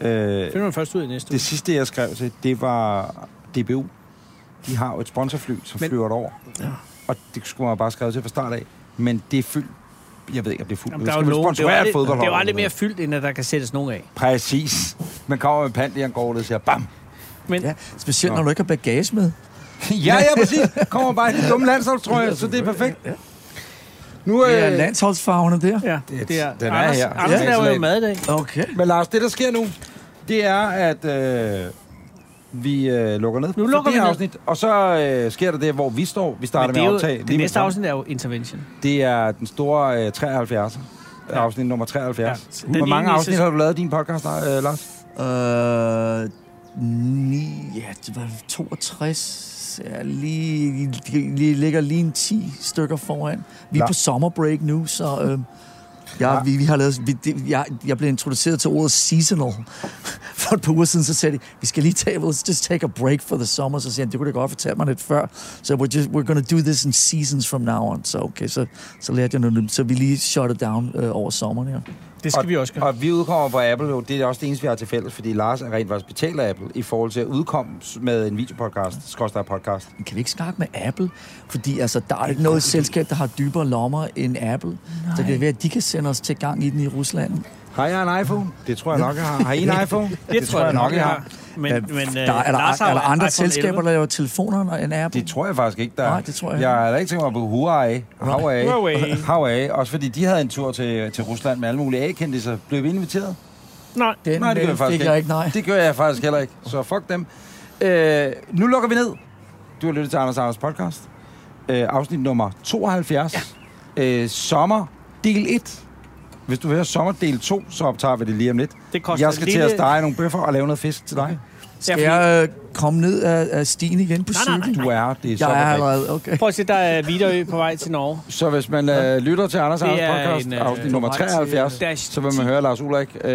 Speaker 3: Ja.
Speaker 2: Øh,
Speaker 3: Finder man først ud i næste uge.
Speaker 2: det sidste, jeg skrev til, det var DBU. De har jo et sponsorfly,
Speaker 3: Men-
Speaker 2: som men, flyver derover. Ja. Og det skulle man have bare skrive til fra start af. Men det er fyldt. Jeg ved ikke, om det er fuldt.
Speaker 3: Jamen,
Speaker 2: men
Speaker 3: der er
Speaker 2: skal
Speaker 3: jo
Speaker 2: man
Speaker 3: nogen, det er jo
Speaker 2: sponsorere et
Speaker 3: aldrig, det er jo
Speaker 2: fodboldhold
Speaker 3: aldrig mere
Speaker 2: eller
Speaker 3: fyldt, end at der kan sættes nogen af.
Speaker 2: noget? Præcis. Man kommer med pant i angårdet og siger, bam.
Speaker 3: Men
Speaker 6: Ja, specielt
Speaker 2: Nå.
Speaker 6: når du ikke har bagage med.
Speaker 2: ja, ja, præcis. Kommer bare i den dumme landsholdstrøje, så det er perfekt. Nu,
Speaker 6: Det er
Speaker 2: øh,
Speaker 6: landsholdsfarverne der.
Speaker 3: ja,
Speaker 2: Det-
Speaker 3: det er,
Speaker 2: den er
Speaker 3: Anders,
Speaker 2: her.
Speaker 3: Anders
Speaker 2: Ja.
Speaker 3: laver jo mad i dag.
Speaker 6: Okay.
Speaker 2: men Lars, det der sker nu, det er, at øh, vi øh, lukker ned
Speaker 3: Nu lukker
Speaker 2: for det
Speaker 3: vi
Speaker 2: her
Speaker 3: ned.
Speaker 2: afsnit. Og så øh, sker der det, hvor vi står. Vi starter
Speaker 3: Men det,
Speaker 2: med
Speaker 3: er
Speaker 2: at
Speaker 3: jo,
Speaker 2: optage. lige
Speaker 3: det
Speaker 2: med
Speaker 3: næste
Speaker 2: samme.
Speaker 3: afsnit er jo Intervention.
Speaker 2: Det er den store øh, 73. Ja. Afsnit nummer 73.
Speaker 3: Ja.
Speaker 2: Ja.
Speaker 3: Den
Speaker 2: Hvor mange
Speaker 3: ene i
Speaker 2: afsnit
Speaker 3: sæson-
Speaker 2: har du lavet i din podcast, øh, Lars?
Speaker 6: Øh, ni, ja, det var 62. Ja, lige, de, de ligger lige en 10 stykker foran. Vi er
Speaker 2: Nej.
Speaker 6: på sommerbreak nu, så... Øh, jeg, vi, vi har lavet, vi, det, jeg, jeg blev introduceret til ordet seasonal for et par uger siden, så sagde de, vi skal lige tage, let's just take a break for the summer, så siger han, det kunne du godt fortælle mig lidt før, så so we're, just, we're gonna do this in seasons from now on, så okay, så, så lærte jeg noget nyt, så vi lige shut it down øh, over sommeren her.
Speaker 3: Det skal
Speaker 2: og,
Speaker 3: vi også gøre.
Speaker 2: Og vi udkommer på Apple, jo. det er også det eneste, vi har til fælles, fordi Lars er rent faktisk betalt af Apple i forhold til at udkomme s- med en videopodcast, skorstræk podcast.
Speaker 6: Men kan vi ikke snakke med Apple? Fordi altså, der er ikke noget selskab, der har dybere lommer end Apple. Nej. Så det kan være, at de kan sende os til gang i den i Rusland.
Speaker 3: Øh,
Speaker 2: Har jeg en iPhone? Det tror jeg nok, jeg har. Har I en iPhone? Det,
Speaker 3: jeg
Speaker 2: jeg
Speaker 3: Men,
Speaker 6: Ja,
Speaker 3: men øh,
Speaker 6: der, er, der,
Speaker 3: Lars har
Speaker 6: er der
Speaker 3: jo en
Speaker 6: andre
Speaker 3: iPhone
Speaker 6: selskaber,
Speaker 3: 11.
Speaker 6: der laver telefoner end Apple?
Speaker 2: Det tror jeg faktisk ikke, der er.
Speaker 6: Nej, det tror jeg
Speaker 2: Jeg
Speaker 6: heller
Speaker 2: har da ikke tænkt mig på Huawei. Huawei.
Speaker 3: Huawei.
Speaker 2: Huawei. Også fordi de havde en tur til, til Rusland med alle mulige A-kendelser. Blev vi inviteret?
Speaker 3: Nej,
Speaker 6: Den
Speaker 2: Nej, det gør
Speaker 6: mail
Speaker 2: jeg faktisk
Speaker 6: fik jeg ikke, nej.
Speaker 2: Det gør jeg faktisk heller ikke. Så fuck dem. Øh, nu lukker vi ned. Du har lyttet til Anders Anders podcast. Øh, afsnit nummer 72. Ja. Øh, sommer del 1. Hvis du hører sommer del 2, så optager vi det lige om lidt.
Speaker 3: det koster
Speaker 2: Jeg skal til
Speaker 3: lille-
Speaker 2: at stege nogle bøffer og lave noget fisk til dig.
Speaker 6: Skal
Speaker 3: Ja,
Speaker 6: jeg øh, komme ned af, af stigen igen på
Speaker 3: Nej, nej,
Speaker 6: cykel?
Speaker 2: Du er det er så
Speaker 6: Jeg er
Speaker 2: perfekt.
Speaker 6: allerede, okay.
Speaker 3: Prøv at se, der er Viderø på vej til Norge.
Speaker 2: Så hvis man øh, lytter til Anders
Speaker 3: Det
Speaker 2: Anders
Speaker 3: er
Speaker 2: podcast,
Speaker 3: en,
Speaker 2: en,
Speaker 3: øh,
Speaker 2: afsnit nummer
Speaker 3: vej til, øh,
Speaker 2: 73,
Speaker 3: Dash
Speaker 2: så vil man høre Lars Ulrik, øh,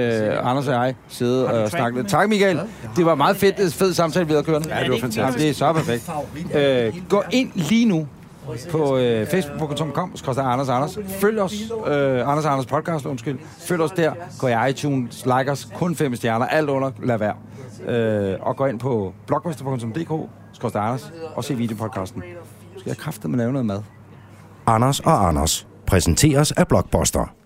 Speaker 2: Anders og jeg sidde og snakke lidt. Tak Michael, det var meget fedt, fed samtale, vi havde kørt. Ja,
Speaker 3: det var fantastisk.
Speaker 2: Det er så perfekt. Øh, gå ind lige nu på øh, facebook.com, skrøster Anders Anders. Følg os, øh, Anders Anders podcast, undskyld. Følg os der, gå i iTunes, like os, kun fem stjerner, alt under, lad være. Øh, og gå ind på blogmaster.dk, skrøster Anders, og se videopodcasten. Nu skal jeg kraftedeme lave noget mad.
Speaker 1: Anders og Anders præsenteres af Blockbuster.